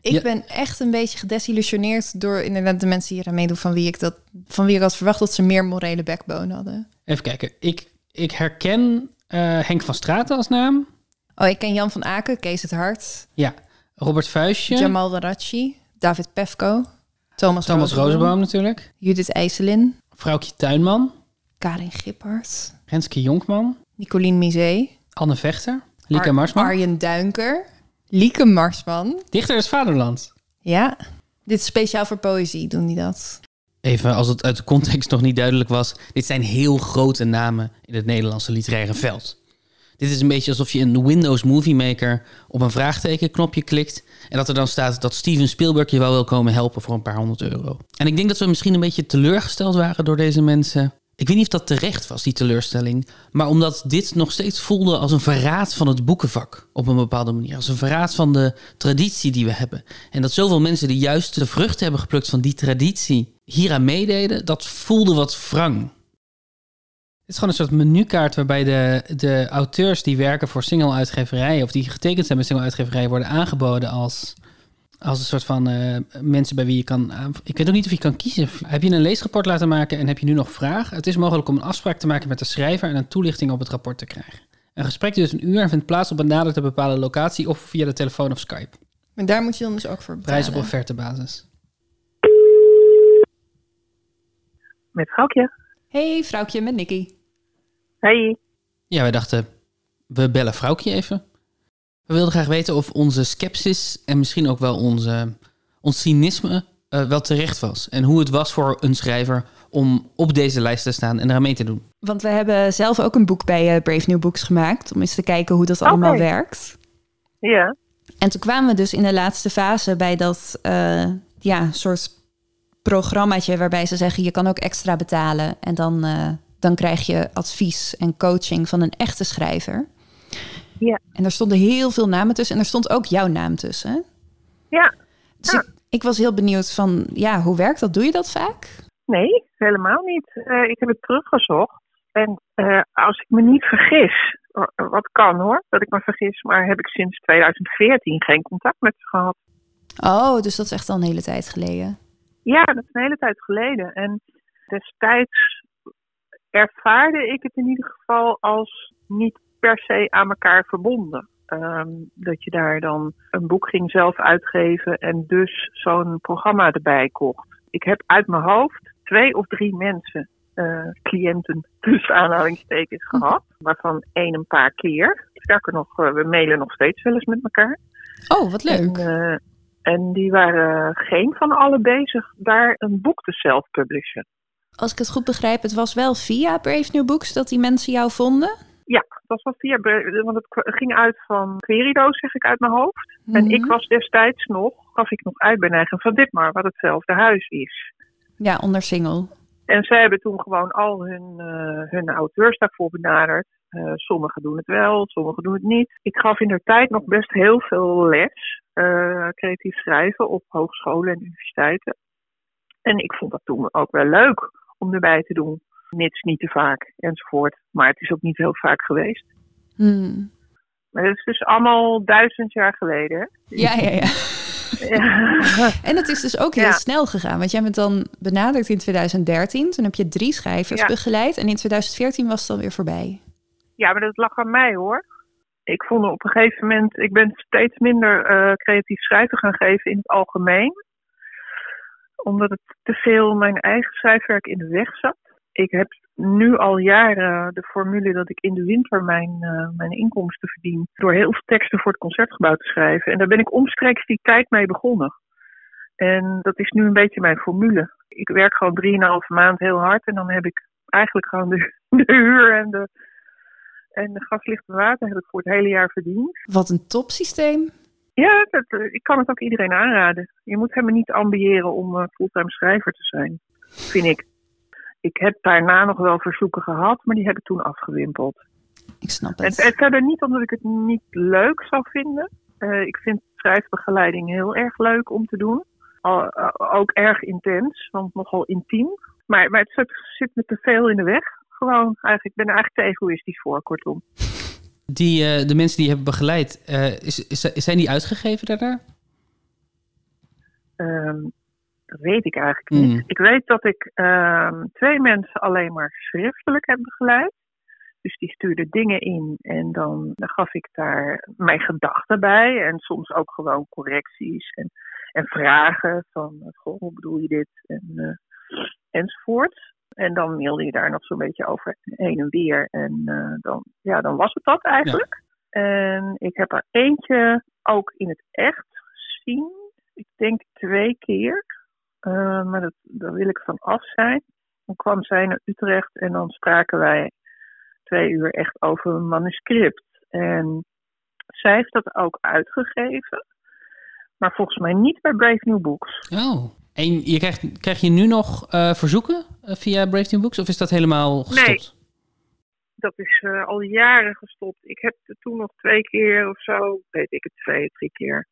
Ik
Ja.
ben echt een beetje gedesillusioneerd door inderdaad de mensen die hier aan meedoen van wie ik dat van wie ik had verwacht dat ze meer morele backbone hadden.
Even kijken. Ik, ik herken eh, Henk van Straten als naam.
Oh, ik ken Jan van Aken, Kees het Hart,
Ja. Robert Vuistje.
Jamal Warachi, David Pefko, Thomas,
Thomas Rozenboom natuurlijk.
Judith IJsselin,
Vrouwtje Tuinman.
Karin Gippert,
Renske Jonkman.
Nicolien Misé,
Anne Vechter. Lieke
Ar-
Marsman.
Arjen Duinker, Lieke Marsman.
Dichter is Vaderland.
Ja, dit is speciaal voor poëzie, doen die dat.
Even als het uit de context nog niet duidelijk was. Dit zijn heel grote namen in het Nederlandse literaire veld. Dit is een beetje alsof je in Windows Movie Maker op een vraagtekenknopje klikt. En dat er dan staat dat Steven Spielberg je wel wil komen helpen voor een paar honderd euro. En ik denk dat we misschien een beetje teleurgesteld waren door deze mensen. Ik weet niet of dat terecht was, die teleurstelling. Maar omdat dit nog steeds voelde als een verraad van het boekenvak. Op een bepaalde manier. Als een verraad van de traditie die we hebben. En dat zoveel mensen die juist de vruchten hebben geplukt van die traditie hieraan meededen. Dat voelde wat wrang. Het is gewoon een soort menukaart waarbij de, de auteurs die werken voor single-uitgeverijen... of die getekend zijn bij single-uitgeverijen worden aangeboden als, als een soort van eh, mensen bij wie je kan... aan- Ik weet ook niet of je kan kiezen. Heb je een leesrapport laten maken en heb je nu nog vragen? Het is mogelijk om een afspraak te maken met de schrijver... en een toelichting op het rapport te krijgen. Een gesprek duurt een uur en vindt plaats op een nader te bepaalde locatie... of via de telefoon of Skype.
Maar daar moet je dan dus ook voor betalen.
Prijs op offertebasis.
Met Goukje.
Hey, vrouwtje met Nicky.
Hey.
Ja, wij dachten, we bellen vrouwtje even. We wilden graag weten of onze scepsis en misschien ook wel onze, ons cynisme eh, wel terecht was. En hoe het was voor een schrijver om op deze lijst te staan en eraan mee te doen.
Want we hebben zelf ook een boek bij eh, Brave New Books gemaakt. Om eens te kijken hoe dat allemaal werkt.
Ja.
En toen kwamen we dus in de laatste fase bij dat eh, ja, soort programmaatje waarbij ze zeggen je kan ook extra betalen. En dan, eh, dan krijg je advies en coaching van een echte schrijver.
Ja.
En daar stonden heel veel namen tussen. En er stond ook jouw naam tussen.
Ja.
Dus ik, ik was heel benieuwd van, ja, hoe werkt dat? Doe je dat vaak?
Nee, helemaal niet. Eh, ik heb het teruggezocht. En eh, als ik me niet vergis, wa- wat kan hoor, dat ik me vergis, maar heb ik sinds 2014 geen contact met ze gehad.
Oh, dus dat is echt al een hele tijd geleden.
Ja, dat is een hele tijd geleden. En destijds ervaarde ik het in ieder geval als niet per se aan elkaar verbonden. Ehm, dat je daar dan een boek ging zelf uitgeven en dus zo'n programma erbij kocht. Ik heb uit mijn hoofd twee of drie mensen, eh, cliënten tussen aanhalingstekens, gehad. Waarvan één een paar keer. Sterker nog, eh, we mailen nog steeds wel eens met elkaar.
Oh, wat leuk.
En, eh, en die waren geen van allen bezig daar een boek te self-publishen.
Als ik het goed begrijp, het was wel via Brave New Books dat die mensen jou vonden.
Dat was via, Bre- want het kwa- ging uit van Querido, zeg ik uit mijn hoofd.
Mhm.
En
Hmm.
ik was destijds nog, gaf ik nog uit bij Neigen van Ditmar, wat hetzelfde huis is.
Ja, onder single.
En zij hebben toen gewoon al hun, eh, hun auteurs daarvoor benaderd. Eh, sommigen doen het wel, sommigen doen het niet. Ik gaf in de tijd nog best heel veel les, eh, creatief schrijven op hogescholen en universiteiten. En ik vond dat toen ook wel leuk om erbij te doen. Mits niet te vaak enzovoort. Maar het is ook niet heel vaak geweest.
Hmm.
Maar dat is dus allemaal duizend jaar geleden. hè?
Ja, ja, ja.
Ja.
En het is dus ook heel
Ja.
snel gegaan. Want jij bent dan benaderd in 2013. Toen heb je drie schrijvers
Ja.
begeleid. En in 2014 was het dan weer voorbij.
Ja, maar dat lag aan mij hoor. Ik vond op een gegeven moment, ik ben steeds minder eh, creatief schrijven gaan geven in het algemeen. Omdat het te veel mijn eigen schrijfwerk in de weg zat. Ik heb nu al jaren de formule dat ik in de winter mijn, eh, mijn inkomsten verdien. Door heel veel teksten voor het concertgebouw te schrijven. En daar ben ik omstreeks die tijd mee begonnen. En dat is nu een beetje mijn formule. Ik werk gewoon 3,5 maand heel hard en dan heb ik eigenlijk gewoon de, de huur en de, en de gas, licht en water heb ik voor het hele jaar verdiend.
Wat een topsysteem.
Ja, dat, eh, ik kan het ook iedereen aanraden. Je moet helemaal niet ambiëren om eh, fulltime schrijver te zijn, vind ik. Ik heb daarna nog wel verzoeken gehad, maar die heb ik toen afgewimpeld.
Ik snap
Het,
het.
het verder niet omdat ik het niet leuk zou vinden. Eh, ik vind schrijfbegeleiding heel erg leuk om te doen. Al- eh, ook erg intens, want nogal intiem. Maar, maar het zit, zit me te veel in de weg. Gewoon, eigenlijk, ik ben er eigenlijk te egoïstisch voor, kortom.
Die, eh, de mensen die je hebt begeleid, eh, is, is, zijn die uitgegeven daarna?
Ehm, dat weet ik eigenlijk niet.
Mm.
Ik weet dat ik ehm, twee mensen alleen maar schriftelijk heb begeleid. Dus die stuurden dingen in en dan gaf ik daar mijn gedachten bij. En soms ook gewoon correcties en, en vragen van, eh, goh, hoe bedoel je dit? En, eh, enzovoort. En dan mailde je daar nog zo'n beetje over heen en weer. En eh, dan, ja, dan was het dat eigenlijk. En ik heb er eentje ook in het echt gezien. Ik denk twee keer. Eh, maar dat, daar wil ik van af zijn. Dan kwam zij naar Utrecht en dan spraken wij twee uur echt over een manuscript. En zij heeft dat ook uitgegeven. Maar volgens mij niet bij Brave New Books.
Oh. En je krijgt, krijg je nu nog eh, verzoeken eh, via Brave New Books? Of is dat helemaal gestopt?
Dat is eh, al jaren gestopt. Ik heb er toen nog twee keer of zo, weet ik het, twee, drie keer,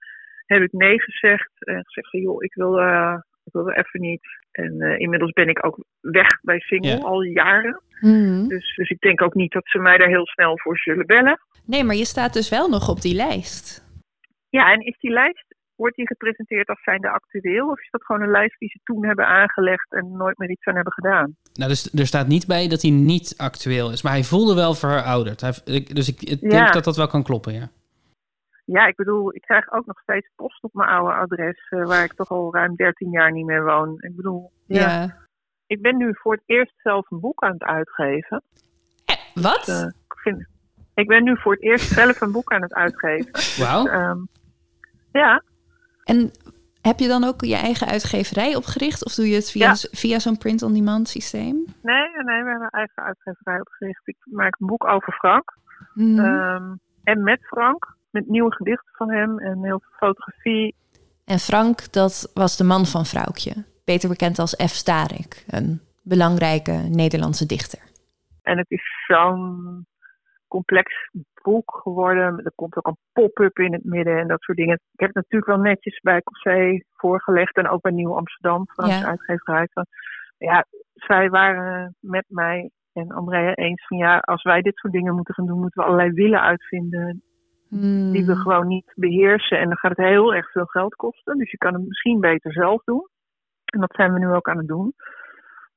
heb ik nee gezegd. En gezegd van, joh, ik wil, eh ik wil er even niet. En eh, inmiddels ben ik ook weg bij Single,
Ja.
al jaren.
Hmm.
Dus, dus ik denk ook niet dat ze mij daar heel snel voor zullen bellen.
Nee, maar je staat dus wel nog op die lijst.
Ja, en is die lijst, wordt die gepresenteerd als zijnde actueel? Of is dat gewoon een lijst die ze toen hebben aangelegd en nooit meer iets aan hebben gedaan?
Nou, dus er staat niet bij dat hij niet actueel is. Maar hij voelde wel verouderd. Hij, ik- dus ik, ik denk
Ja.
dat dat wel kan kloppen, ja.
Ja, ik bedoel, ik krijg ook nog steeds post op mijn oude adres, eh, waar ik toch al ruim 13 jaar niet meer woon. Ik bedoel, ja. ik ben nu voor het eerst zelf een boek aan het uitgeven.
Eh, wat?
Eh, ik, vind, ik ben nu voor het eerst zelf een boek aan het uitgeven.
Eh,
Wauw.
Ehm, ja,
En heb je dan ook je eigen uitgeverij opgericht? Of doe je het via,
Ja.
via zo'n print-on-demand systeem?
nee, nee, we hebben eigen uitgeverij opgericht. Ik maak een boek over Frank.
Hmm.
Ehm, en met Frank, met nieuwe gedichten van hem en heel veel fotografie.
En Frank, dat was de man van Vrouwtje. Beter bekend als F. Starik. Een belangrijke Nederlandse dichter.
En het is zo'n complex boek geworden. Er komt ook een pop-up in het midden en dat soort dingen. Ik heb het natuurlijk wel netjes bij Cossé voorgelegd en ook bij Nieuw Amsterdam, Frans
Ja.
uitgeverij. Van, ja, zij waren met mij en Andrea eens van ja, als wij dit soort dingen moeten gaan doen, moeten we allerlei willen uitvinden
Hmm.
die we gewoon niet beheersen. En dan gaat het heel erg veel geld kosten. Dus je kan het misschien beter zelf doen. En dat zijn we nu ook aan het doen.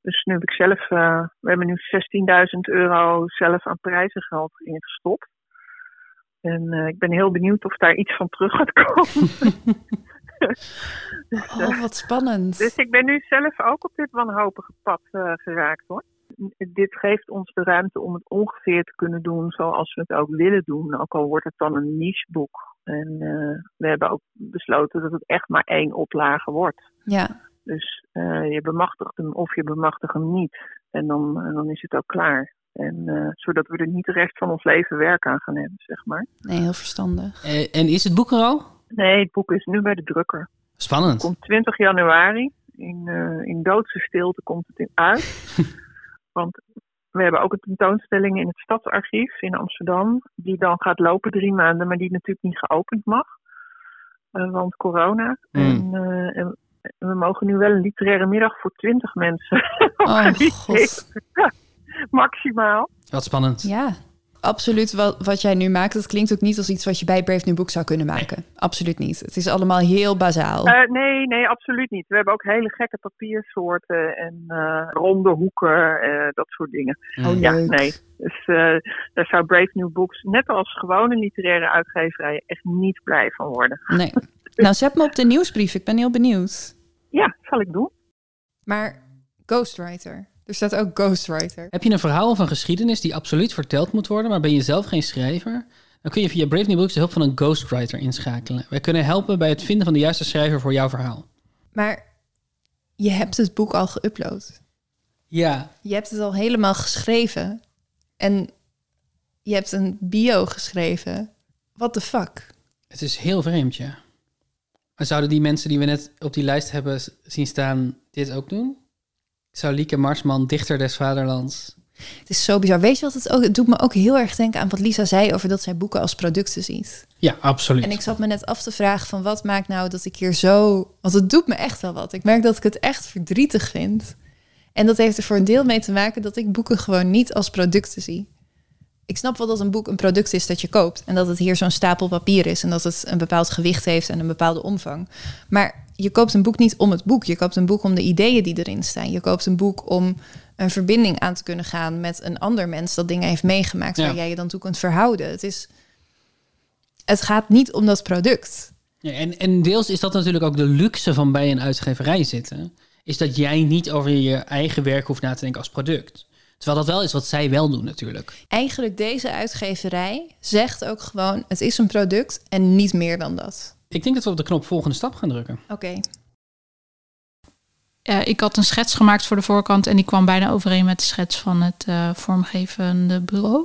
Dus nu heb ik zelf, eh, we hebben nu 16.000 euro zelf aan prijzengeld ingestopt. En eh, ik ben heel benieuwd of daar iets van terug gaat komen.
Oh, wat spannend.
dus ik ben nu zelf ook op dit wanhopige pad eh, geraakt hoor. Dit geeft ons de ruimte om het ongeveer te kunnen doen zoals we het ook willen doen. Ook al wordt het dan een nicheboek. En eh, we hebben ook besloten dat het echt maar één oplage wordt.
Ja.
Dus eh, je bemachtigt hem of je bemachtigt hem niet. En dan, en dan is het ook klaar. En, eh, zodat we er niet de rest van ons leven werk aan gaan hebben, zeg maar.
Nee, heel verstandig.
Eh, en is het boek er al?
Nee, het boek is nu bij de drukker.
Spannend.
Komt 20 januari. In, eh, in doodse stilte komt het in uit. Want we hebben ook een tentoonstelling in het Stadsarchief in Amsterdam. Die dan gaat lopen drie maanden, maar die natuurlijk niet geopend mag. eh, want corona.
Hmm.
En, eh, en we mogen nu wel een literaire middag voor 20 mensen
Oh,
organiseren.
god.
maximaal.
Wat spannend.
Ja. Absoluut wat, wat jij nu maakt. Dat klinkt ook niet als iets wat je bij Brave New Book zou kunnen maken. Absoluut niet. Het is allemaal heel bazaal.
Eh, nee, nee, absoluut niet. We hebben ook hele gekke papiersoorten en eh, ronde hoeken, eh, dat soort dingen.
Mm.
oh,
ja,
leuk.
nee. Dus eh, daar zou Brave New Books, net als gewone literaire uitgeverij, echt niet blij van worden.
Nee. Nou, zet me op de nieuwsbrief. Ik ben heel benieuwd.
Ja, zal ik doen.
Maar ghostwriter. Er staat ook ghostwriter.
Heb je een verhaal of een geschiedenis die absoluut verteld moet worden, maar ben je zelf geen schrijver? Dan kun je via Brave New Books de hulp van een ghostwriter inschakelen. Wij kunnen helpen bij het vinden van de juiste schrijver voor jouw verhaal.
Maar je hebt het boek al geüpload.
Ja,
Je hebt het al helemaal geschreven. En je hebt een bio geschreven. What the fuck?
het is heel vreemd, ja. Maar zouden die mensen die we net op die lijst hebben s- zien staan dit ook doen? Zou Lieke Marsman, dichter des vaderlands...
Het is zo bizar. Weet je wat het ook... Het doet me ook heel erg denken aan wat Lisa zei... over dat zij boeken als producten ziet.
Ja, absoluut.
En ik zat me net af te vragen van wat maakt nou dat ik hier zo... Want het doet me echt wel wat. Ik merk dat ik het echt verdrietig vind. En dat heeft er voor een deel mee te maken dat ik boeken gewoon niet als producten zie. Ik snap wel dat een boek een product is dat je koopt. En dat het hier zo'n stapel papier is. En dat het een bepaald gewicht heeft en een bepaalde omvang. Maar je koopt een boek niet om het boek. Je koopt een boek om de ideeën die erin staan. Je koopt een boek om een verbinding aan te kunnen gaan met een ander mens dat dingen heeft meegemaakt.
Ja.
Waar jij je dan toe kunt verhouden. Het is het gaat niet om dat product.
Ja, en, en deels is dat natuurlijk ook de luxe van bij een uitgeverij zitten. Is dat jij niet over je eigen werk hoeft na te denken als product. Terwijl dat wel is wat zij wel doen natuurlijk.
Eigenlijk deze uitgeverij zegt ook gewoon: het is een product en niet meer dan dat.
Ik denk dat we op de knop volgende stap gaan drukken.
Oké.
Eh, ik had een schets gemaakt voor de voorkant en die kwam bijna overeen met de schets van het eh, vormgevende bureau.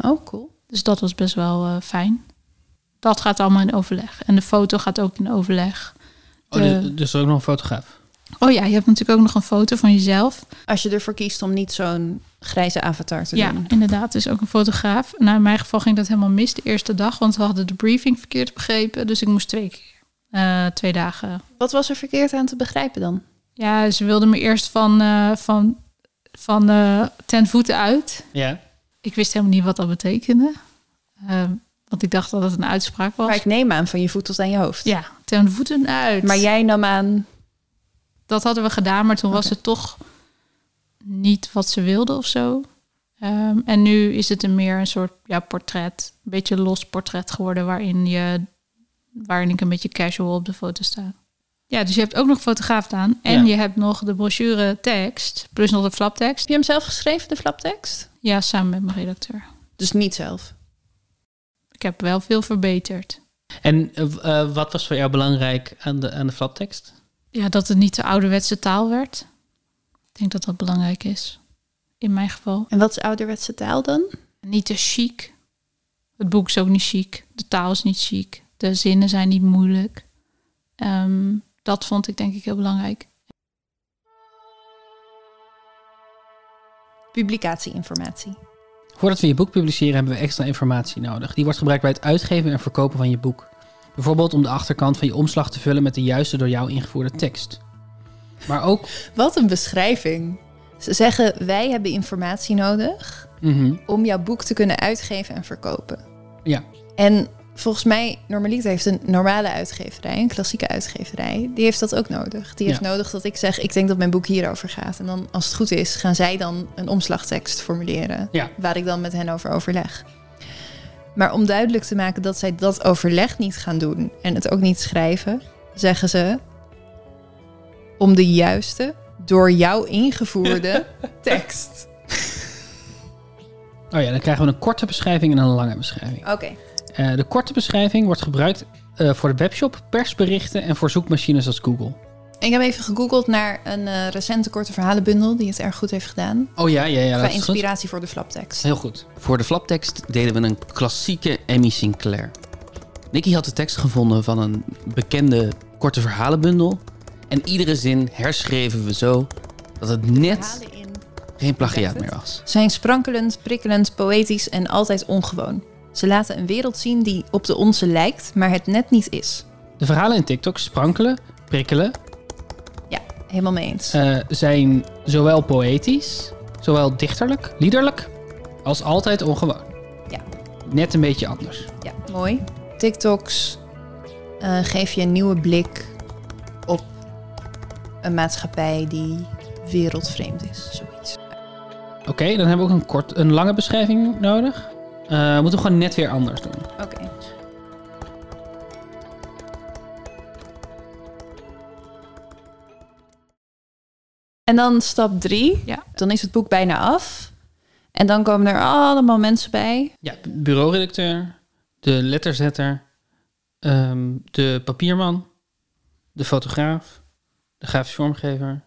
Oh, cool.
Dus dat was best wel eh, fijn. Dat gaat allemaal in overleg. En de foto gaat ook in overleg.
Oh,
Eh.
dus, dus er is ook nog een fotograaf.
Oh ja, je hebt natuurlijk ook nog een foto van jezelf.
Als je ervoor kiest om niet zo'n grijze avatar te
Ja,
doen.
inderdaad. Dus ook een fotograaf. Nou, in mijn geval ging dat helemaal mis de eerste dag. Want we hadden de briefing verkeerd begrepen. Dus ik moest twee keer. eh, twee dagen.
Wat was er verkeerd aan te begrijpen dan?
Ja, ze wilden me eerst van, eh, van, van eh, ten voeten uit.
Ja.
Ik wist helemaal niet wat dat betekende. Ehm, want ik dacht dat het een uitspraak was.
Maar ik neem aan van je voet tot aan je hoofd.
Ja, ten voeten uit.
Maar jij nam aan.
dat hadden we gedaan, maar toen was het toch niet wat ze wilden of zo. Ehm, en nu is het een meer een soort ja, portret, een beetje los portret geworden, waarin, je, waarin ik een beetje casual op de foto sta. Ja, dus je hebt ook nog fotograaf aan en
Ja.
je hebt nog de brochure tekst, plus nog de flaptekst.
Heb je hem zelf geschreven, de flaptekst?
Ja, samen met mijn redacteur.
Dus niet zelf.
Ik heb wel veel verbeterd.
En eh, eh, wat was voor jou belangrijk aan de, aan de flaptekst?
Ja, dat het niet de ouderwetse taal werd. Ik denk dat dat belangrijk is. In mijn geval.
En wat is ouderwetse taal dan?
niet te chic. Het boek is ook niet chic. De taal is niet chic. De zinnen zijn niet moeilijk. Ehm, dat vond ik denk ik heel belangrijk.
Publicatieinformatie.
Voordat we je boek publiceren hebben we extra informatie nodig. Die wordt gebruikt bij het uitgeven en verkopen van je boek. Bijvoorbeeld om de achterkant van je omslag te vullen met de juiste door jou ingevoerde tekst. Maar ook...
Wat een beschrijving. Ze zeggen: wij hebben informatie nodig.
Mhm.
om jouw boek te kunnen uitgeven en verkopen.
Ja.
En volgens mij, normaliter heeft een normale uitgeverij, een klassieke uitgeverij, die heeft dat ook nodig. Die heeft
Ja.
nodig dat ik zeg, ik denk dat mijn boek hierover gaat. En dan, als het goed is, gaan zij dan een omslagtekst formuleren,
Ja.
waar ik dan met hen over overleg. Maar om duidelijk te maken dat zij dat overleg niet gaan doen en het ook niet schrijven, zeggen ze om de juiste, door jou ingevoerde tekst.
Oh ja, dan krijgen we een korte beschrijving en een lange beschrijving.
Oké.
Eh, de korte beschrijving wordt gebruikt eh, voor de webshop, persberichten en voor zoekmachines als Google.
Ik heb even gegoogeld naar een eh, recente korte verhalenbundel die het erg goed heeft gedaan.
Oh ja, ja, ja.
qua
Dat is goed.
inspiratie voor de flaptekst.
Heel goed.
Voor de flaptekst deden we een klassieke Emmy Sinclair. Nicky had de tekst gevonden van een bekende korte verhalenbundel. En iedere zin herschreven we zo dat het net
Verhalen in
geen plagiaat
Werkt het?
meer was.
zijn sprankelend, prikkelend, poëtisch en altijd ongewoon. Ze laten een wereld zien die op de onze lijkt, maar het net niet is.
De verhalen in TikTok sprankelen, prikkelen,
Helemaal mee eens.
eh, zijn zowel poëtisch, zowel dichterlijk, liederlijk, als altijd ongewoon.
Ja.
Net een beetje anders.
Ja, mooi. TikToks eh, geef je een nieuwe blik op een maatschappij die wereldvreemd is. Zoiets.
Oké, dan hebben we ook een, kort, een lange beschrijving nodig. Eh moeten we gewoon net weer anders doen.
Oké. En dan stap drie.
Ja.
Dan is het boek bijna af. En dan komen er allemaal mensen bij.
Ja, bureauredacteur, de letterzetter, ehm, de papierman, de fotograaf, De grafisch vormgever.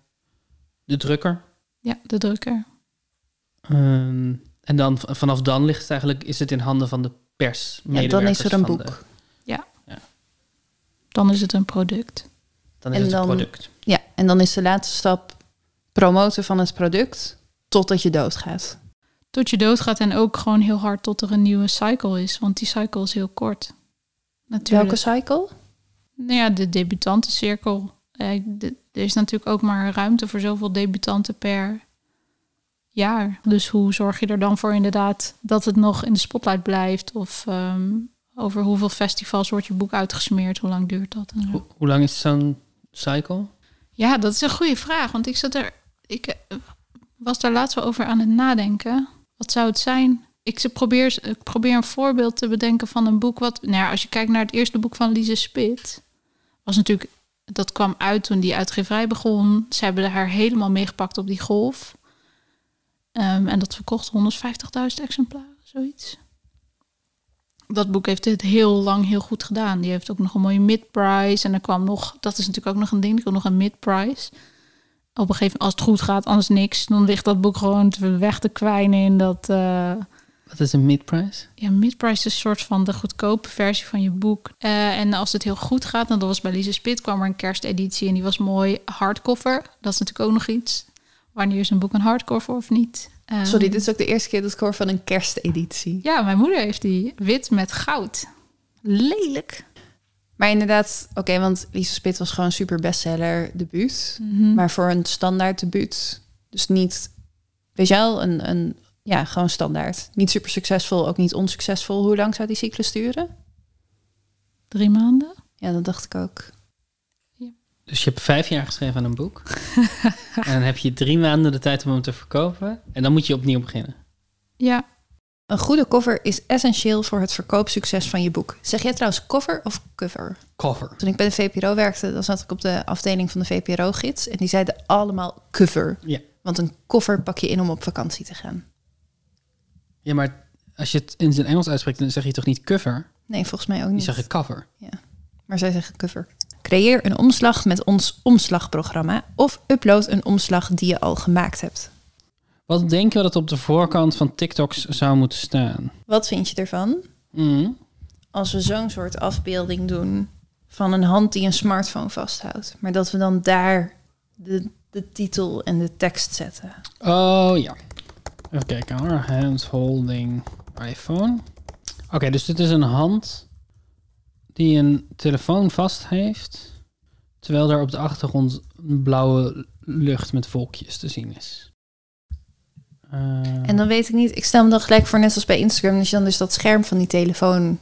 De drukker.
Ja, de drukker.
Ehm, en dan v- vanaf dan ligt het eigenlijk, is het in handen van de pers.
Ja, dan is
medewerkers
er een
van de-
boek.
Dan is het een product.
dan is
En
het een
dan-
product.
Ja, en dan is de laatste stap promoten van het product totdat je doodgaat.
Tot je doodgaat en ook gewoon heel hard tot er een nieuwe cycle is. Want die cycle is heel kort. Natuurlijk.
Welke cycle?
Nou ja, de debutantencirkel. Eh, de- er is natuurlijk ook maar ruimte voor zoveel debutanten per jaar. Dus hoe zorg je er dan voor inderdaad dat het nog in de spotlight blijft? Of ehm, over hoeveel festivals wordt je boek uitgesmeerd? Hoe lang duurt dat? En zo.
Hoe, hoe lang is zo'n cycle?
Ja, dat is een goede vraag. Want ik zat er. Ik eh, was daar laatst wel over aan het nadenken. Wat zou het zijn? Ik ze- probeer, ik probeer een voorbeeld te bedenken van een boek wat. Nou, ja, als je kijkt naar het eerste boek van Lise Spit, was natuurlijk. Dat kwam uit toen die uitgeverij begon. Ze hebben haar helemaal meegepakt op die golf. Ehm, en dat verkocht 150.000 exemplaren, zoiets. Dat boek heeft het heel lang heel goed gedaan. Die heeft ook nog een mooie mid-price. En er kwam nog, dat is natuurlijk ook nog een ding, er kwam nog een mid-price. Op een gegeven moment, als het goed gaat, anders niks. Dan ligt dat boek gewoon te- weg te kwijnen in dat... eh,
Wat is een mid-price?
ja, mid-price is een soort van de goedkope versie van je boek. Eh, en als het heel goed gaat, dan dat was bij Lise Spit, kwam er een kersteditie en die was mooi hardcover. Dat is natuurlijk ook nog iets. Wanneer is een boek een hardcover of niet? Eh,
Sorry, dit is ook de eerste keer dat ik hoor van een kersteditie.
Ja, mijn moeder heeft die wit met goud. Lelijk.
Maar inderdaad, oké, want Lisa Spit was gewoon super bestseller debuut. Maar voor een standaard debuut. Dus niet, weet je wel, een, een, ja, gewoon standaard. Niet super succesvol, ook niet onsuccesvol. Hoe lang zou die cyclus duren?
Drie maanden.
Ja, dat dacht ik ook.
Dus je hebt vijf jaar geschreven aan een boek. en dan heb je drie maanden de tijd om hem te verkopen. En dan moet je opnieuw beginnen.
Ja,
Een goede cover is essentieel voor het verkoopsucces van je boek. Zeg jij trouwens cover of cover?
Cover.
Toen ik bij de VPRO werkte, dan zat ik op de afdeling van de VPRO-gids. En die zeiden allemaal cover.
Ja.
Want een cover pak je in om op vakantie te gaan.
Ja, maar als je het in zijn Engels uitspreekt, dan zeg je toch niet cover?
Nee, volgens mij ook
Je
niet.
zegt cover.
maar zij zeggen cover. Creëer een omslag met ons omslagprogramma of upload een omslag die je al gemaakt hebt.
Wat denken we dat op de voorkant van TikToks zou moeten staan?
Wat vind je ervan
Mm.
als we zo'n soort afbeelding doen van een hand die een smartphone vasthoudt, maar dat we dan daar de, de titel en de tekst zetten?
Oh ja. Even kijken hoor. Hands holding iPhone. Oké, dus dit is een hand die een telefoon vast heeft. Terwijl er op de achtergrond een blauwe lucht met wolkjes te zien is. Eh,
En dan weet ik niet, ik stel me dan gelijk voor net als bij Instagram, dat je dan dus dat scherm van die telefoon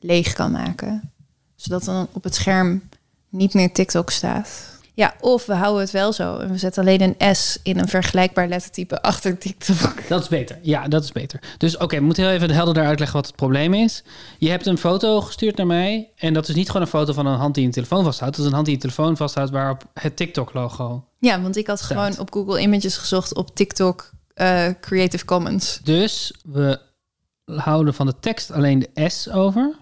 leeg kan maken. Zodat dan op het scherm niet meer TikTok staat. Ja, of we houden het wel zo en we zetten alleen een S in een vergelijkbaar lettertype achter TikTok.
Dat is beter. Ja, dat is beter. Dus oké, ik moet heel even helder uitleggen wat het probleem is. Je hebt een foto gestuurd naar mij. En dat is niet gewoon een foto van een hand die een telefoon vasthoudt. Dat is een hand die een telefoon vasthoudt waarop het TikTok-logo.
Ja, want ik had gewoon op Google Images gezocht op TikTok eh, Creative Commons.
Dus we houden van de tekst alleen de S over.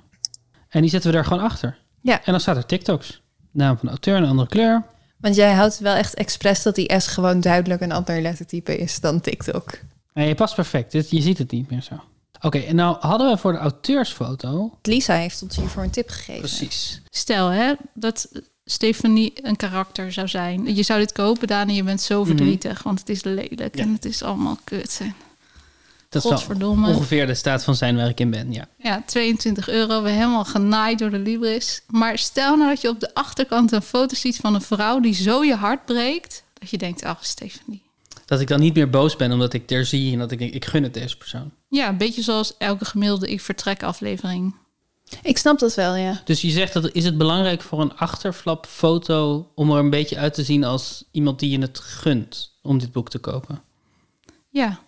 En die zetten we daar gewoon achter.
Ja.
En dan staat er TikToks. Naam van de auteur, een andere kleur.
Want jij houdt wel echt expres dat die S gewoon duidelijk een ander lettertype is dan TikTok.
En je past perfect. Dit- Je ziet het niet meer zo. Oké, en nou hadden we voor de auteursfoto...
Lisa heeft ons hiervoor een tip gegeven.
Precies.
Stel hè, dat Stephanie een karakter zou zijn. Je zou dit kopen, Daan, en je bent
Mhm.
zo verdrietig. Want het is lelijk en het is allemaal kut. En
Dat is wel
Godverdomme.
ongeveer de staat van zijn waar ik in ben, ja.
Ja, 22 euro. We helemaal genaaid door de Libris. Maar stel nou dat je op de achterkant een foto ziet van een vrouw die zo je hart breekt. Dat je denkt, ach Stephanie.
Dat ik dan niet meer boos ben omdat ik er zie en dat ik denk, ik gun het deze persoon.
Ja, een beetje zoals elke gemiddelde Ik Vertrek aflevering.
Ik snap dat wel, ja.
Dus je zegt, dat is het belangrijk voor een achterflapfoto om er een beetje uit te zien als iemand die je het gunt om dit boek te kopen?
Ja,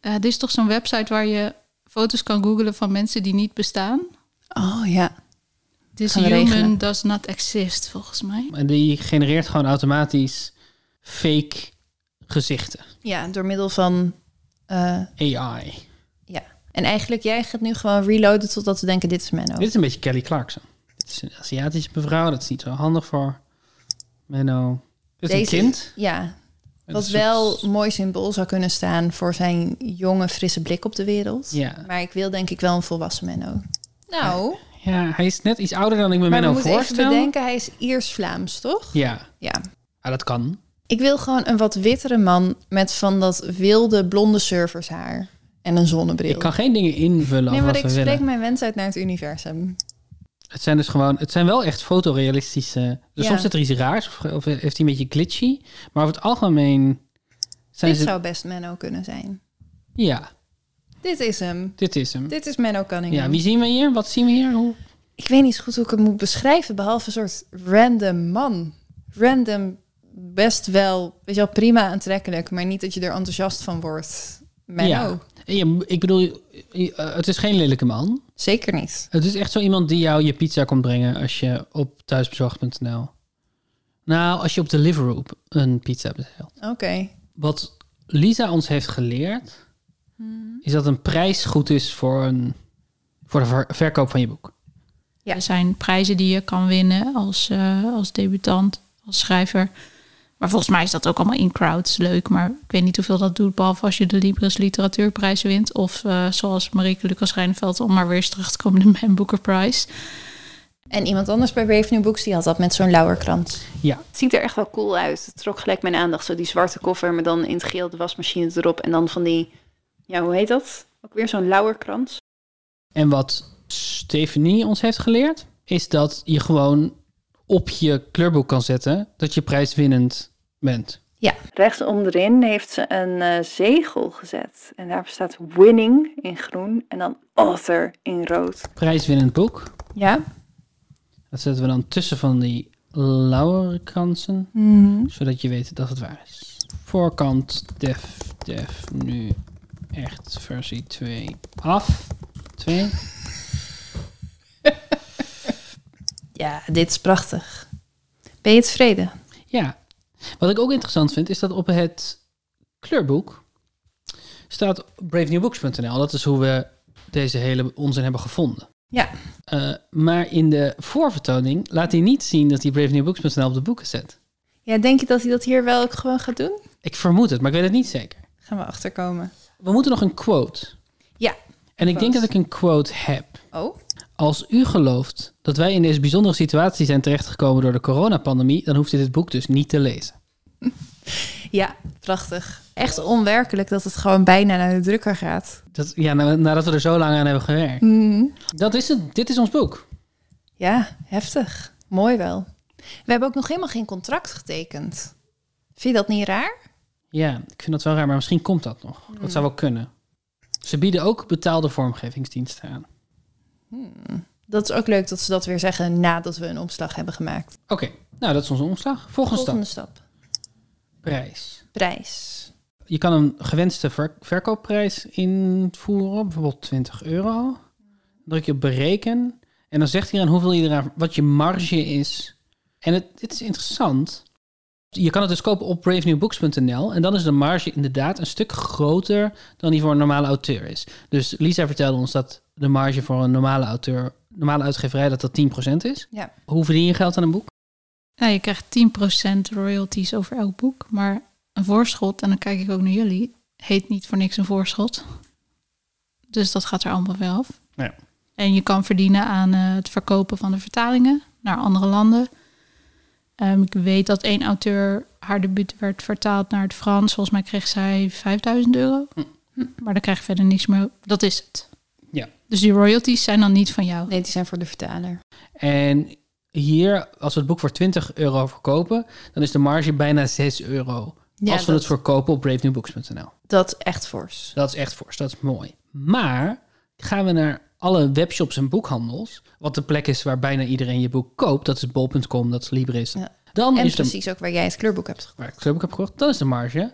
Eh, dit is toch zo'n website waar je foto's kan googlen van mensen die niet bestaan.
Oh ja.
This
Gaan we
human
regelen.
does not exist, volgens mij.
En die genereert gewoon automatisch fake gezichten.
Ja, door middel van. eh,
AI.
ja. En eigenlijk, jij gaat nu gewoon reloaden totdat we denken: dit is Menno.
Dit is een beetje Kelly Clarkson. Het is een Aziatische mevrouw, dat is niet zo handig voor Menno. Het is een kind.
Ja,
Een
wat
soort-
wel een mooi symbool zou kunnen staan voor zijn jonge, frisse blik op de wereld.
Ja.
Maar ik wil denk ik wel een volwassen Menno. Nou,
ja, hij is net iets ouder dan ik me
maar we
Menno
moeten even
voorstel.
bedenken, hij is Iers-Vlaams, toch?
Ja.
Ja.
Ah, dat kan.
Ik wil gewoon een wat wittere man met van dat wilde blonde surfershaar en een zonnebril.
Ik kan geen dingen invullen
nee,
als
maar
wat
ik
we
spreek
willen.
mijn wens uit naar het universum.
Het zijn dus gewoon, het zijn wel echt fotorealistische. Dus
Ja.
soms zit er iets raars of, of heeft hij een beetje glitchy. Maar over het algemeen zijn
Dit
ze.
zou best Menno kunnen zijn.
Ja,
Dit is hem.
dit is hem.
Dit is Menno Cunningham.
Ja, wie zien we hier? Wat zien we hier? Hoe?
Ik weet niet zo goed hoe ik het moet beschrijven, behalve een soort random man. Random, best wel, weet je wel, prima aantrekkelijk, maar niet dat je er enthousiast van wordt. Menno,
Ja. Ja, ik bedoel, eh, het is geen lelijke man.
zeker niet.
Het is echt zo iemand die jou je pizza komt brengen als je op thuisbezorgd.nl. Nou, als je op Deliveroo een pizza bestelt.
Oké,
Wat Lisa ons heeft geleerd, is dat een prijs goed is voor, een, voor de ver- verkoop van je boek.
Ja.
Er zijn prijzen die je kan winnen als, eh, als debutant, als schrijver. Maar volgens mij is dat ook allemaal in crowds leuk. Maar ik weet niet hoeveel dat doet, behalve als je de Libris Literatuurprijs wint. Of eh, zoals Marieke Lucas Rijnveld, om maar weer eens terug te komen, de Man Booker Prize.
en iemand anders bij Brave New Books, die had dat met zo'n lauwerkrans.
Ja,
Het ziet er echt wel cool uit. Het trok gelijk mijn aandacht. Zo die zwarte koffer, maar dan in het geel de wasmachine erop. En dan van die, ja, hoe heet dat? Ook weer zo'n lauwerkrans.
En wat Stephanie ons heeft geleerd, is dat je gewoon op je kleurboek kan zetten dat je prijswinnend bent.
Rechts onderin heeft ze een eh, zegel gezet. En daar staat winning in groen en dan author in rood.
Prijswinnend boek.
Ja?
Dat zetten we dan tussen van die lauwerkransen, zodat je weet dat het waar is. Voorkant def, def, nu echt versie 2 af. 2.
Ja, dit is prachtig. Ben je tevreden?
Ja. Wat ik ook interessant vind, is dat op het kleurboek staat bravenewbooks.nl. Dat is hoe we deze hele onzin hebben gevonden.
Ja.
Eh, maar in de voorvertoning laat hij niet zien dat hij bravenewbooks.nl op de boeken zet.
Ja, denk je dat hij dat hier wel ook gewoon gaat doen?
Ik vermoed het, maar ik weet het niet zeker.
Gaan we achterkomen.
We moeten nog een quote.
Ja.
En ik
Quote.
denk dat ik een quote heb.
Oh?
Als u gelooft dat wij in deze bijzondere situatie zijn terechtgekomen door de coronapandemie, dan hoeft u dit boek dus niet te lezen.
Ja, prachtig. Echt onwerkelijk dat het gewoon bijna naar de drukker gaat.
Dat, ja, na- nadat we er zo lang aan hebben gewerkt.
Mhm.
Dat is het. Dit is ons boek.
Ja, heftig. Mooi wel. We hebben ook nog helemaal geen contract getekend. Vind je dat niet raar?
Ja, ik vind dat wel raar, maar misschien komt dat nog. Dat zou wel kunnen. Ze bieden ook betaalde vormgevingsdiensten aan.
Dat is ook leuk dat ze dat weer zeggen nadat we een omslag hebben gemaakt.
Oké, nou dat is onze omslag. Volgende stap,
Volgende stap.
prijs.
Prijs.
Je kan een gewenste ver- verkoopprijs invoeren, bijvoorbeeld 20 euro. Dan druk je op bereken en dan zegt hij aan hoeveel je eraan, wat je marge is. En het, het is interessant. Je kan het dus kopen op bravenewbooks.nl en dan is de marge inderdaad een stuk groter dan die voor een normale auteur is. Dus Lisa vertelde ons dat de marge voor een normale auteur, normale uitgeverij, dat dat 10% is.
Ja.
Hoe verdien je geld aan een boek?
Nou, je krijgt 10% royalties over elk boek. Maar een voorschot, en dan kijk ik ook naar jullie, heet niet voor niks een voorschot. Dus dat gaat er allemaal wel af.
Ja.
En je kan verdienen aan eh, het verkopen van de vertalingen naar andere landen. Ehm, ik weet dat één auteur haar debuut werd vertaald naar het Frans. Volgens mij kreeg zij 5000 euro. Maar daar krijg je verder niks meer. Dat is het.
Ja.
Dus die royalties zijn dan niet van jou.
Nee, die zijn voor de vertaler.
En hier, als we het boek voor 20 euro verkopen, dan is de marge bijna 6 euro.
Ja,
als we
dat-
het verkopen op bravenewbooks.nl.
Dat is echt fors.
Dus Dat is echt fors, dat is mooi. Maar gaan we naar alle webshops en boekhandels, wat de plek is waar bijna iedereen je boek koopt, dat is bol.com, dat is Libris.
Ja.
Dan
En
is de,
precies ook waar jij het kleurboek hebt gekocht.
waar ik het club heb gekocht, dan is de marge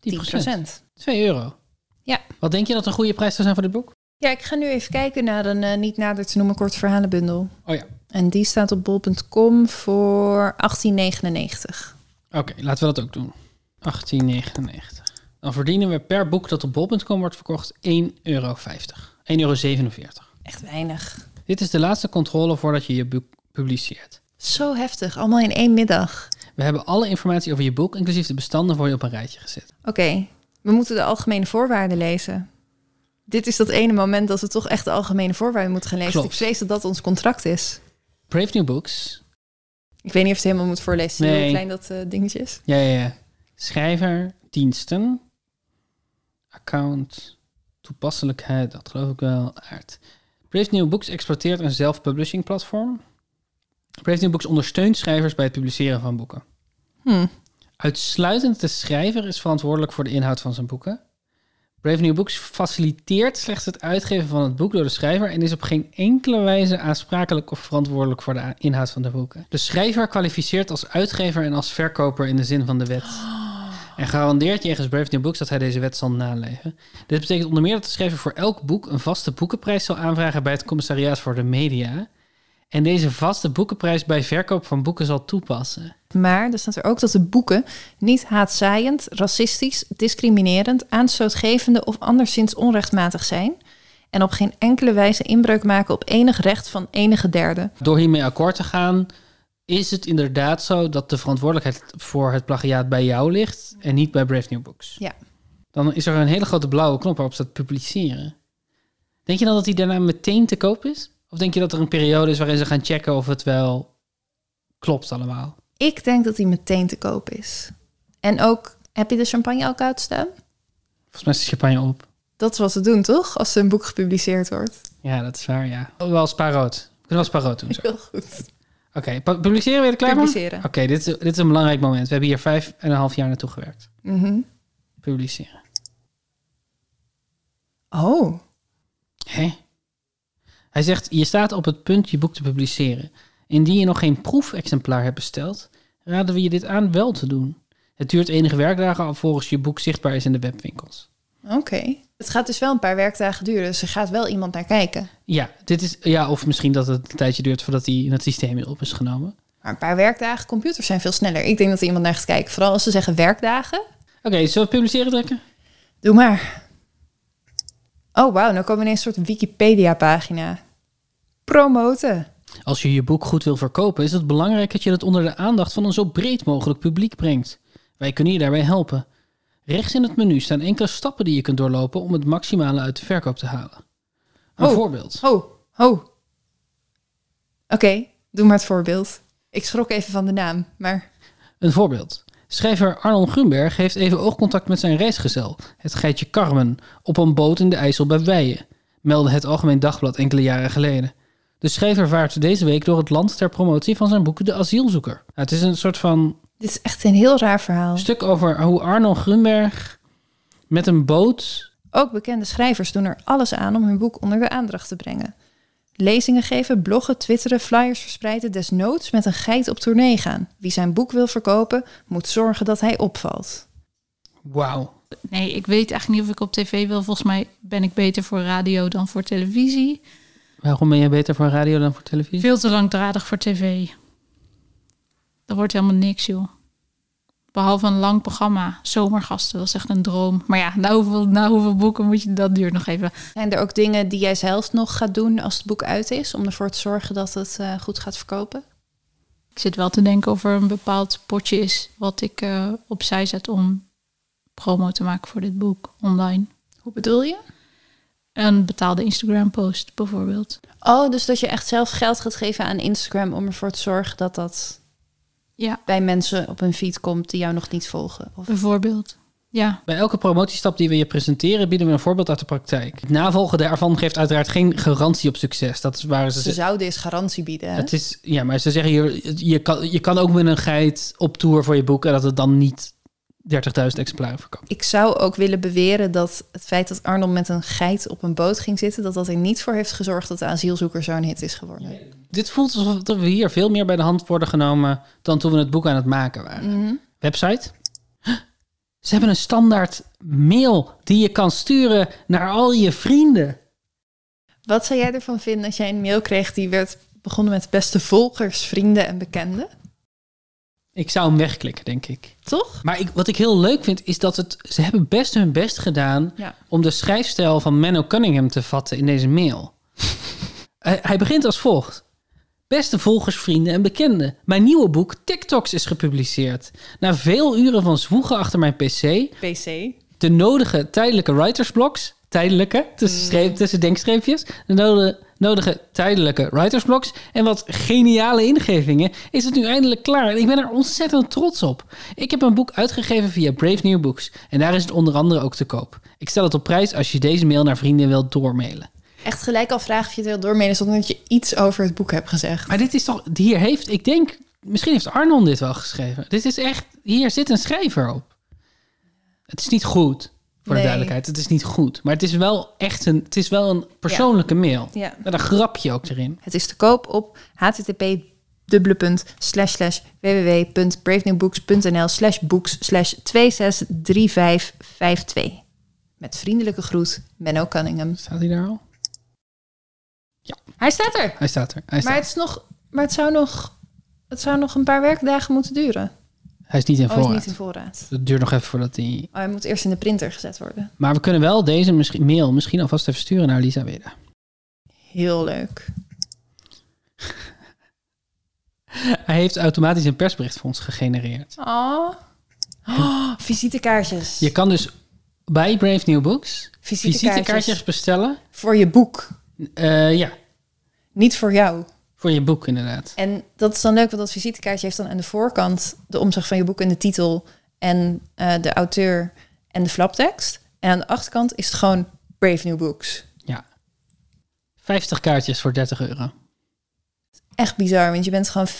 10%.
10%.
2 euro.
Ja.
Wat denk je dat een goede prijs zou zijn voor dit boek?
Ja, ik ga nu even kijken naar een eh, niet nader te noemen kort verhalenbundel.
Oh ja.
En die staat op bol.com voor 18,99.
Oké, laten we dat ook doen. 18,99. Dan verdienen we per boek dat op bol.com wordt verkocht 1,50 euro. 1,47 euro.
Echt weinig.
Dit is de laatste controle voordat je je boek publiceert.
Zo heftig, allemaal in één middag.
We hebben alle informatie over je boek, inclusief de bestanden, voor je op een rijtje gezet.
Oké, we moeten de algemene voorwaarden lezen. Dit is dat ene moment dat we toch echt de algemene voorwaarden moeten gaan lezen.
Klopt.
Ik vrees dat dat ons contract is.
Brave New Books.
Ik weet niet of je het helemaal moet voorlezen. Zie je
Nee.
Hoe klein dat eh, dingetje is.
Ja, ja, ja. Schrijver, diensten, account, toepasselijkheid, dat geloof ik wel, aard. Brave New Books exploiteert een zelf-publishing platform. Brave New Books ondersteunt schrijvers bij het publiceren van boeken.
Hm.
Uitsluitend de schrijver is verantwoordelijk voor de inhoud van zijn boeken. Brave New Books faciliteert slechts het uitgeven van het boek door de schrijver en is op geen enkele wijze aansprakelijk of verantwoordelijk voor de a- inhoud van de boeken. De schrijver kwalificeert als uitgever en als verkoper in de zin van de wet. En garandeert jegens Brave New Books dat hij deze wet zal naleven. Dit betekent onder meer dat de schrijver voor elk boek een vaste boekenprijs zal aanvragen bij het commissariaat voor de media. En deze vaste boekenprijs bij verkoop van boeken zal toepassen.
Maar er staat er ook dat de boeken niet haatzaaiend, racistisch, discriminerend, aanstootgevende of anderszins onrechtmatig zijn. En op geen enkele wijze inbreuk maken op enig recht van enige derde.
Door hiermee akkoord te gaan, is het inderdaad zo dat de verantwoordelijkheid voor het plagiaat bij jou ligt en niet bij Brave New Books.
Ja.
Dan is er een hele grote blauwe knop waarop staat publiceren. Denk je dan dat die daarna meteen te koop is? Of denk je dat er een periode is waarin ze gaan checken of het wel klopt allemaal?
Ik denk dat die meteen te koop is. En ook, heb je de champagne al koud staan?
Volgens mij is de champagne op.
Dat is wat ze doen, toch? Als een boek gepubliceerd wordt.
Ja, dat is waar, ja. Oh, wel spaarrood. We kunnen wel spaarrood doen. zo.
Heel goed.
Oké, pu- publiceren weer klaar? voor?
Publiceren.
Oké, dit, is- dit is een belangrijk moment. We hebben hier vijf en een half jaar naartoe gewerkt.
Mhm.
Publiceren.
Oh,
Hé? Hij zegt, je staat op het punt je boek te publiceren. Indien je nog geen proefexemplaar hebt besteld, raden we je dit aan wel te doen. Het duurt enige werkdagen alvorens je boek zichtbaar is in de webwinkels.
oké. Het gaat dus wel een paar werkdagen duren, dus er gaat wel iemand naar kijken.
Ja, dit is, ja, of misschien dat het een tijdje duurt voordat hij in het systeem op is genomen.
Maar een paar werkdagen, computers zijn veel sneller. Ik denk dat er iemand naar gaat kijken. Vooral als ze zeggen werkdagen.
Oké, zullen we publiceren trekken?
Doe maar. Oh, wauw. Nou komen we ineens een soort Wikipedia-pagina. Promoten.
Als je je boek goed wil verkopen, is het belangrijk dat je het onder de aandacht van een zo breed mogelijk publiek brengt. Wij kunnen je daarbij helpen. Rechts in het menu staan enkele stappen die je kunt doorlopen om het maximale uit de verkoop te halen. Een
Oh.
voorbeeld.
Ho, ho. Oké, doe maar het voorbeeld. Ik schrok even van de naam, maar...
Een voorbeeld. Schrijver Arnold Grunberg heeft even oogcontact met zijn reisgezel, het geitje Carmen, op een boot in de IJssel bij Weijen, meldde het Algemeen Dagblad enkele jaren geleden. De schrijver vaart deze week door het land ter promotie van zijn boek De Asielzoeker. Nou, het is een soort van
Dit is echt een heel raar verhaal.
stuk over hoe Arnold Grunberg met een boot...
Ook bekende schrijvers doen er alles aan om hun boek onder de aandacht te brengen. Lezingen geven, bloggen, twitteren, flyers verspreiden, desnoods met een geit op tournee gaan. Wie zijn boek wil verkopen, moet zorgen dat hij opvalt.
Wauw.
Nee, ik weet eigenlijk niet of ik op tv wil. Volgens mij ben ik beter voor radio dan voor televisie.
Waarom ben je beter voor radio dan voor televisie?
Veel te langdradig voor tv. Dat wordt helemaal niks, joh. Behalve een lang programma. Zomergasten was echt een droom. Maar ja, na hoeveel, na hoeveel boeken moet je... Dat duurt nog even.
Zijn er ook dingen die jij zelf nog gaat doen als het boek uit is, om ervoor te zorgen dat het eh, goed gaat verkopen?
Ik zit wel te denken of er een bepaald potje is... wat ik eh, opzij zet om promo te maken voor dit boek online.
Hoe bedoel je?
Een betaalde Instagram-post bijvoorbeeld.
Oh, dus dat je echt zelf geld gaat geven aan Instagram om ervoor te zorgen dat dat
Ja,
bij mensen op hun feed komt die jou nog niet volgen. Of...
bijvoorbeeld. Ja,
Bij elke promotiestap die we je presenteren, bieden we een voorbeeld uit de praktijk. Het navolgen daarvan geeft uiteraard geen garantie op succes. Dat is waar ze
Ze zouden eens garantie bieden. hè?
Het is, ja, maar ze zeggen, je, je, kan, je kan ook met een geit op tour voor je boek... en dat het dan niet 30.000 exemplaren verkoopt.
Ik zou ook willen beweren dat het feit dat Arnold met een geit op een boot ging zitten, dat dat er niet voor heeft gezorgd dat de asielzoeker zo'n hit is geworden.
Dit voelt alsof dat we hier veel meer bij de hand worden genomen... dan toen we het boek aan het maken waren. Website? Huh, Ze hebben een standaard mail die je kan sturen naar al je vrienden.
Wat zou jij ervan vinden als jij een mail kreeg die werd begonnen met beste volgers, vrienden en bekenden?
Ik zou hem wegklikken, denk ik.
Toch?
Maar ik, wat ik heel leuk vind, is dat het, ze hebben best hun best gedaan...
Ja.
om de Eh, schrijfstijl van Menno Cunningham te vatten in deze mail. hij, hij begint als volgt. Beste volgers, vrienden en bekenden, mijn nieuwe boek TikToks is gepubliceerd. Na veel uren van zwoegen achter mijn PC,
PC.
de nodige tijdelijke writersblocks, tijdelijke, tussen, streep- tussen denkstreepjes, de node- nodige tijdelijke writersblocks en wat geniale ingevingen, is het nu eindelijk klaar. En ik ben er ontzettend trots op. Ik heb een boek uitgegeven via Brave New Books en daar is het onder andere ook te koop. Ik stel het op prijs als je deze mail naar vrienden wilt doormailen.
Echt gelijk al vragen of je het wil doormelen zonder dat je iets over het boek hebt gezegd.
Maar dit is toch, hier heeft, ik denk, misschien heeft Arnon dit wel geschreven. Dit is echt, hier zit een schrijver op. Het is niet goed,
Nee.
voor de duidelijkheid. Het is niet goed. Maar het is wel echt een, het is wel een persoonlijke mail.
Ja.
Met een grapje ook erin.
Het is te koop op http www.bravenewbooks.nl slash books slash 263552. Met vriendelijke groet, Menno Cunningham.
Staat hij daar al?
Hij staat er!
Hij staat er.
Maar
Hij, staat.
het, is nog, maar het zou nog... Het zou nog een paar werkdagen moeten duren.
hij is niet in
Oh, is
voorraad.
niet in voorraad.
Het duurt nog even voordat hij...
Oh, hij moet eerst in de printer gezet worden.
Maar we kunnen wel deze misschien, mail misschien alvast even sturen naar Lisa Weda.
Heel leuk.
Hij heeft automatisch een persberichtfonds gegenereerd.
Oh. oh visitekaartjes.
Je kan dus bij Brave New Books
visitekaartjes.
visitekaartjes bestellen.
Voor je boek.
Eh, ja,
Niet voor jou.
voor je boek inderdaad.
En dat is dan leuk, want dat visitekaartje heeft dan aan de voorkant de omslag van je boek en de titel en eh, de auteur en de flaptekst. En aan de achterkant is het gewoon Brave New Books.
Ja. 50 kaartjes voor 30 euro.
Echt bizar, want je bent gewoon 50%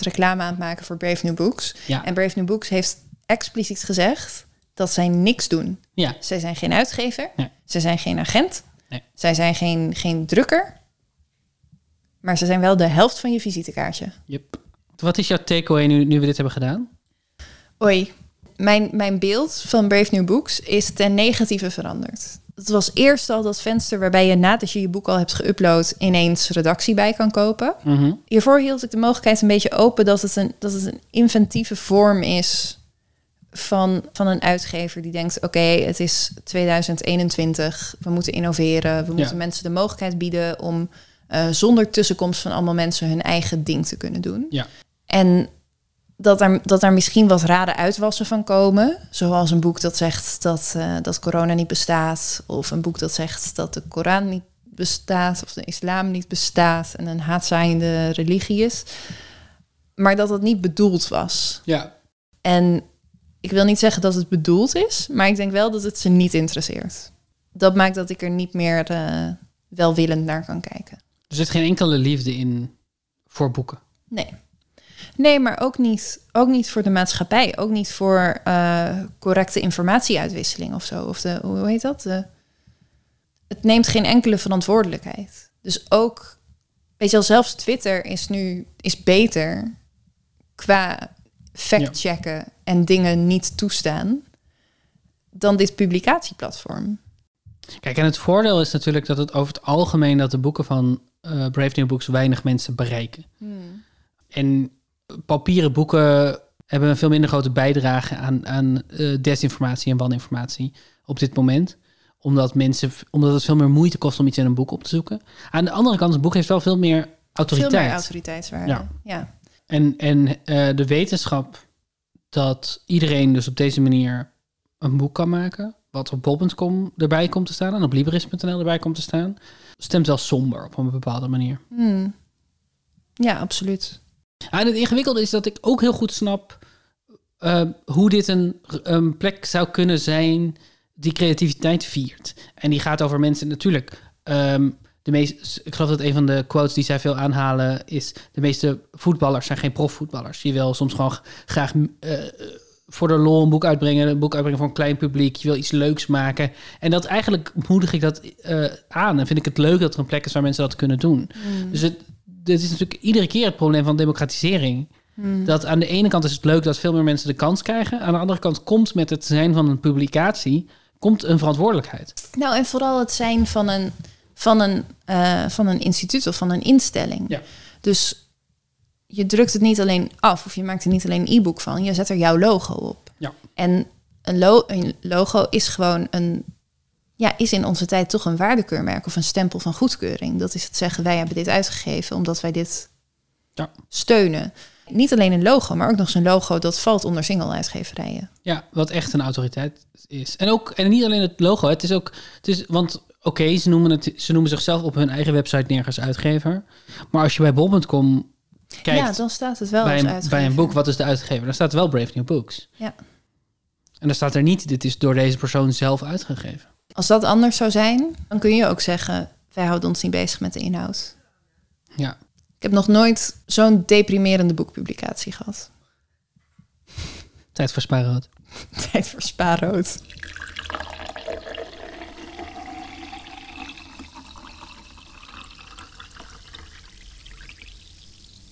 reclame aan het maken voor Brave New Books.
Ja.
En Brave New Books heeft expliciet gezegd dat zij niks doen.
Ja.
Zij zijn geen uitgever,
Nee.
zij zijn geen agent,
Nee.
zij zijn geen, geen drukker. Maar ze zijn wel de helft van je visitekaartje.
Yep. Wat is jouw takeaway nu, nu we dit hebben gedaan?
Oei, mijn, mijn beeld van Brave New Books is ten negatieve veranderd. Het was eerst al dat venster waarbij je nadat je je boek al hebt geüpload... ineens redactie bij kan kopen. Hiervoor hield ik de mogelijkheid een beetje open dat het een, dat het een inventieve vorm is... Van, van een uitgever die denkt: Oké, het is 2021, we moeten innoveren, we moeten mensen de mogelijkheid bieden om eh, zonder tussenkomst van allemaal mensen hun eigen ding te kunnen doen.
Ja.
En dat er, dat er misschien wat rare uitwassen van komen. Zoals een boek dat zegt dat, eh, dat corona niet bestaat. Of een boek dat zegt dat de Koran niet bestaat. Of de islam niet bestaat. En een haatzaaiende religie is. Maar dat dat niet bedoeld was.
Ja.
En ik wil niet zeggen dat het bedoeld is. Maar ik denk wel dat het ze niet interesseert. Dat maakt dat ik er niet meer eh, welwillend naar kan kijken.
Er zit geen enkele liefde in voor boeken.
Nee. Nee, maar ook niet, ook niet voor de maatschappij. Ook niet voor eh, correcte informatieuitwisseling of zo. Of de, hoe heet dat? De, het neemt geen enkele verantwoordelijkheid. Dus ook, weet je wel, zelfs Twitter is nu is beter qua fact-checken en dingen niet toestaan dan dit publicatieplatform.
Kijk, en het voordeel is natuurlijk dat het over het algemeen dat de boeken van eh, Brave New Books weinig mensen bereiken. Hmm. En papieren boeken hebben een veel minder grote bijdrage aan, aan eh, desinformatie en waninformatie op dit moment. Omdat, mensen, omdat het veel meer moeite kost om iets in een boek op te zoeken. Aan de andere kant, het boek heeft wel veel meer autoriteit.
Veel meer autoriteitswaarde.
Ja.
ja.
En, en eh, de wetenschap dat iedereen dus op deze manier een boek kan maken, wat op bol.com erbij komt te staan en op libris.nl erbij komt te staan, stemt wel somber op een bepaalde manier.
Hmm. Ja, absoluut.
Ah, En het ingewikkelde is dat ik ook heel goed snap eh, hoe dit een, een plek zou kunnen zijn die creativiteit viert. En die gaat over mensen natuurlijk. ehm, de meest, ik geloof dat een van de quotes die zij veel aanhalen is... de meeste voetballers zijn geen profvoetballers. Je wil soms gewoon graag eh, voor de lol een boek uitbrengen. Een boek uitbrengen voor een klein publiek. Je wil iets leuks maken. En dat eigenlijk moedig ik dat eh, aan. En vind ik het leuk dat er een plek is waar mensen dat kunnen doen. Dus het, dit is natuurlijk iedere keer het probleem van democratisering. Dat aan de ene kant is het leuk dat veel meer mensen de kans krijgen. Aan de andere kant komt met het zijn van een publicatie komt een verantwoordelijkheid.
Nou, en vooral het zijn van een, van een, eh, van een instituut of van een instelling.
Ja.
Dus je drukt het niet alleen af of je maakt er niet alleen een e-book van. Je zet er jouw logo op.
Ja.
En een, lo- een logo is gewoon een... Ja, is in onze tijd toch een waardekeurmerk of een stempel van goedkeuring. Dat is het zeggen, wij hebben dit uitgegeven omdat wij dit
Ja.
steunen. Niet alleen een logo, maar ook nog zo'n logo dat valt onder single-uitgeverijen.
Ja, wat echt een autoriteit is. En ook, en niet alleen het logo, het is ook, het is, want oké, ze, noemen het, ze noemen zichzelf op hun eigen website nergens uitgever. Maar als je bij bol.com
ja,
kijkt
dan staat het wel
bij,
als
een, bij
uitgever.
een boek, wat is de uitgever? Dan staat wel Brave New Books.
Ja.
En dan staat er niet, dit is door deze persoon zelf uitgegeven.
Als dat anders zou zijn, dan kun je ook zeggen... wij houden ons niet bezig met de inhoud.
Ja.
Ik heb nog nooit zo'n deprimerende boekpublicatie gehad.
Tijd voor spaarrood.
Tijd voor spaarrood.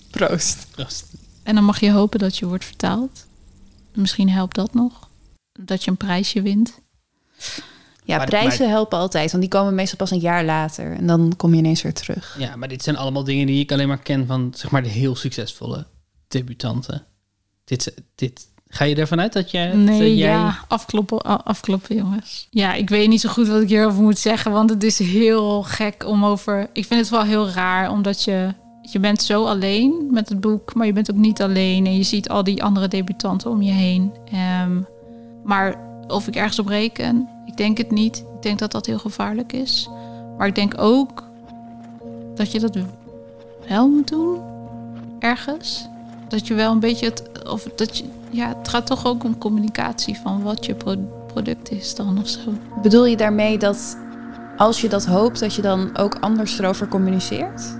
Proost.
En dan mag je hopen dat je wordt vertaald. Misschien helpt dat nog. Dat je een prijsje wint.
Ja,
Maar-
prijzen helpen altijd, want die komen meestal pas een jaar later. En dan kom je ineens weer terug.
Ja, maar dit zijn allemaal dingen die ik alleen maar ken van zeg maar de heel succesvolle debutanten. Dit, dit, ga je ervan uit dat jij... dat
Nee,
jij
ja, afkloppen, a- afkloppen, jongens. eh, Ja, ik weet niet zo goed wat ik hierover moet zeggen, want het is heel gek om over... Ik vind het wel heel raar, omdat je... Je bent zo alleen met het boek, maar je bent ook niet alleen. En je ziet al die andere debutanten om je heen. Ehm, maar of ik ergens op reken, ik denk het niet. Ik denk dat dat heel gevaarlijk is. Maar ik denk ook dat je dat wel moet doen, ergens. Dat je wel een beetje het... Of dat je, ja, het gaat toch ook om communicatie van wat je pro- product is dan of zo.
Bedoel je daarmee dat als je dat hoopt, dat je dan ook anders erover communiceert?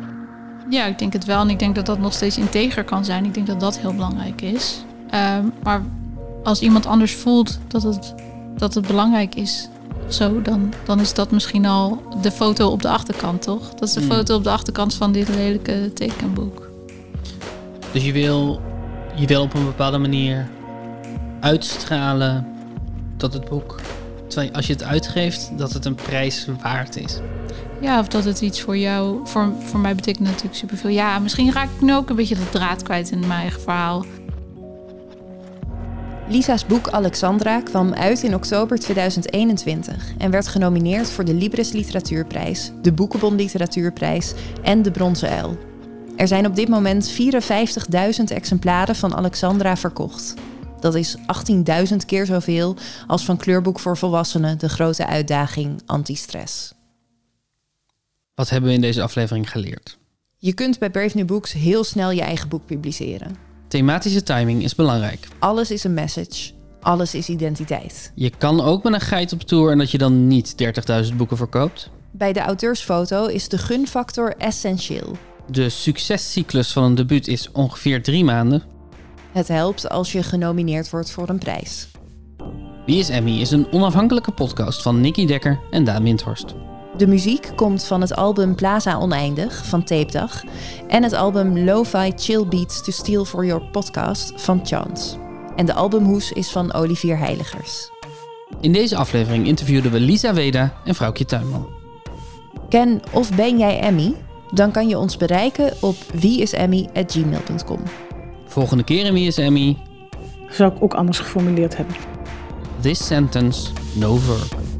Ja, ik denk het wel. En ik denk dat dat nog steeds integer kan zijn. Ik denk dat dat heel belangrijk is. Ehm, maar als iemand anders voelt dat het, dat het belangrijk is, of zo, dan, dan is dat misschien al de foto op de achterkant, toch? Dat is de
Hmm.
foto op de achterkant van dit lelijke tekenboek.
Dus je wil, je wil op een bepaalde manier uitstralen dat het boek, terwijl als je het uitgeeft, dat het een prijs waard is.
Ja, of dat het iets voor jou, voor, voor mij betekent natuurlijk superveel. Ja, misschien raak ik nu ook een beetje de draad kwijt in mijn eigen verhaal.
Lisa's boek Alexandra kwam uit in oktober 2021 en werd genomineerd voor de Libris Literatuurprijs, de Boekenbon Literatuurprijs en de Bronzen Uil. Er zijn op dit moment 54.000 exemplaren van Alexandra verkocht. Dat is 18.000 keer zoveel als van kleurboek voor volwassenen de grote uitdaging antistress.
Wat hebben we in deze aflevering geleerd?
Je kunt bij Brave New Books heel snel je eigen boek publiceren.
Thematische timing is belangrijk.
Alles is een message, alles is identiteit.
Je kan ook met een geit op tour en dat je dan niet 30.000 boeken verkoopt.
Bij de auteursfoto is de gunfactor essentieel.
De succescyclus van een debuut is ongeveer drie maanden.
Het helpt als je genomineerd wordt voor een prijs.
Wie is Emmy is een onafhankelijke podcast van Nicky Dekker en Daan Windhorst.
De muziek komt van het album Plaza Oneindig van Tapedag en het album Lo-Fi Chill Beats to Steal for Your Podcast van Chance. En de albumhoes is van Olivier Heiligers.
In deze aflevering interviewden we Lisa Weda en Vrouwtje Tuinman.
Ken of ben jij Emmy? Dan kan je ons bereiken op wieisemmy.gmail.com.
Volgende keer in Wie is Emmy?
Zou ik ook anders geformuleerd hebben.
This sentence, no verb.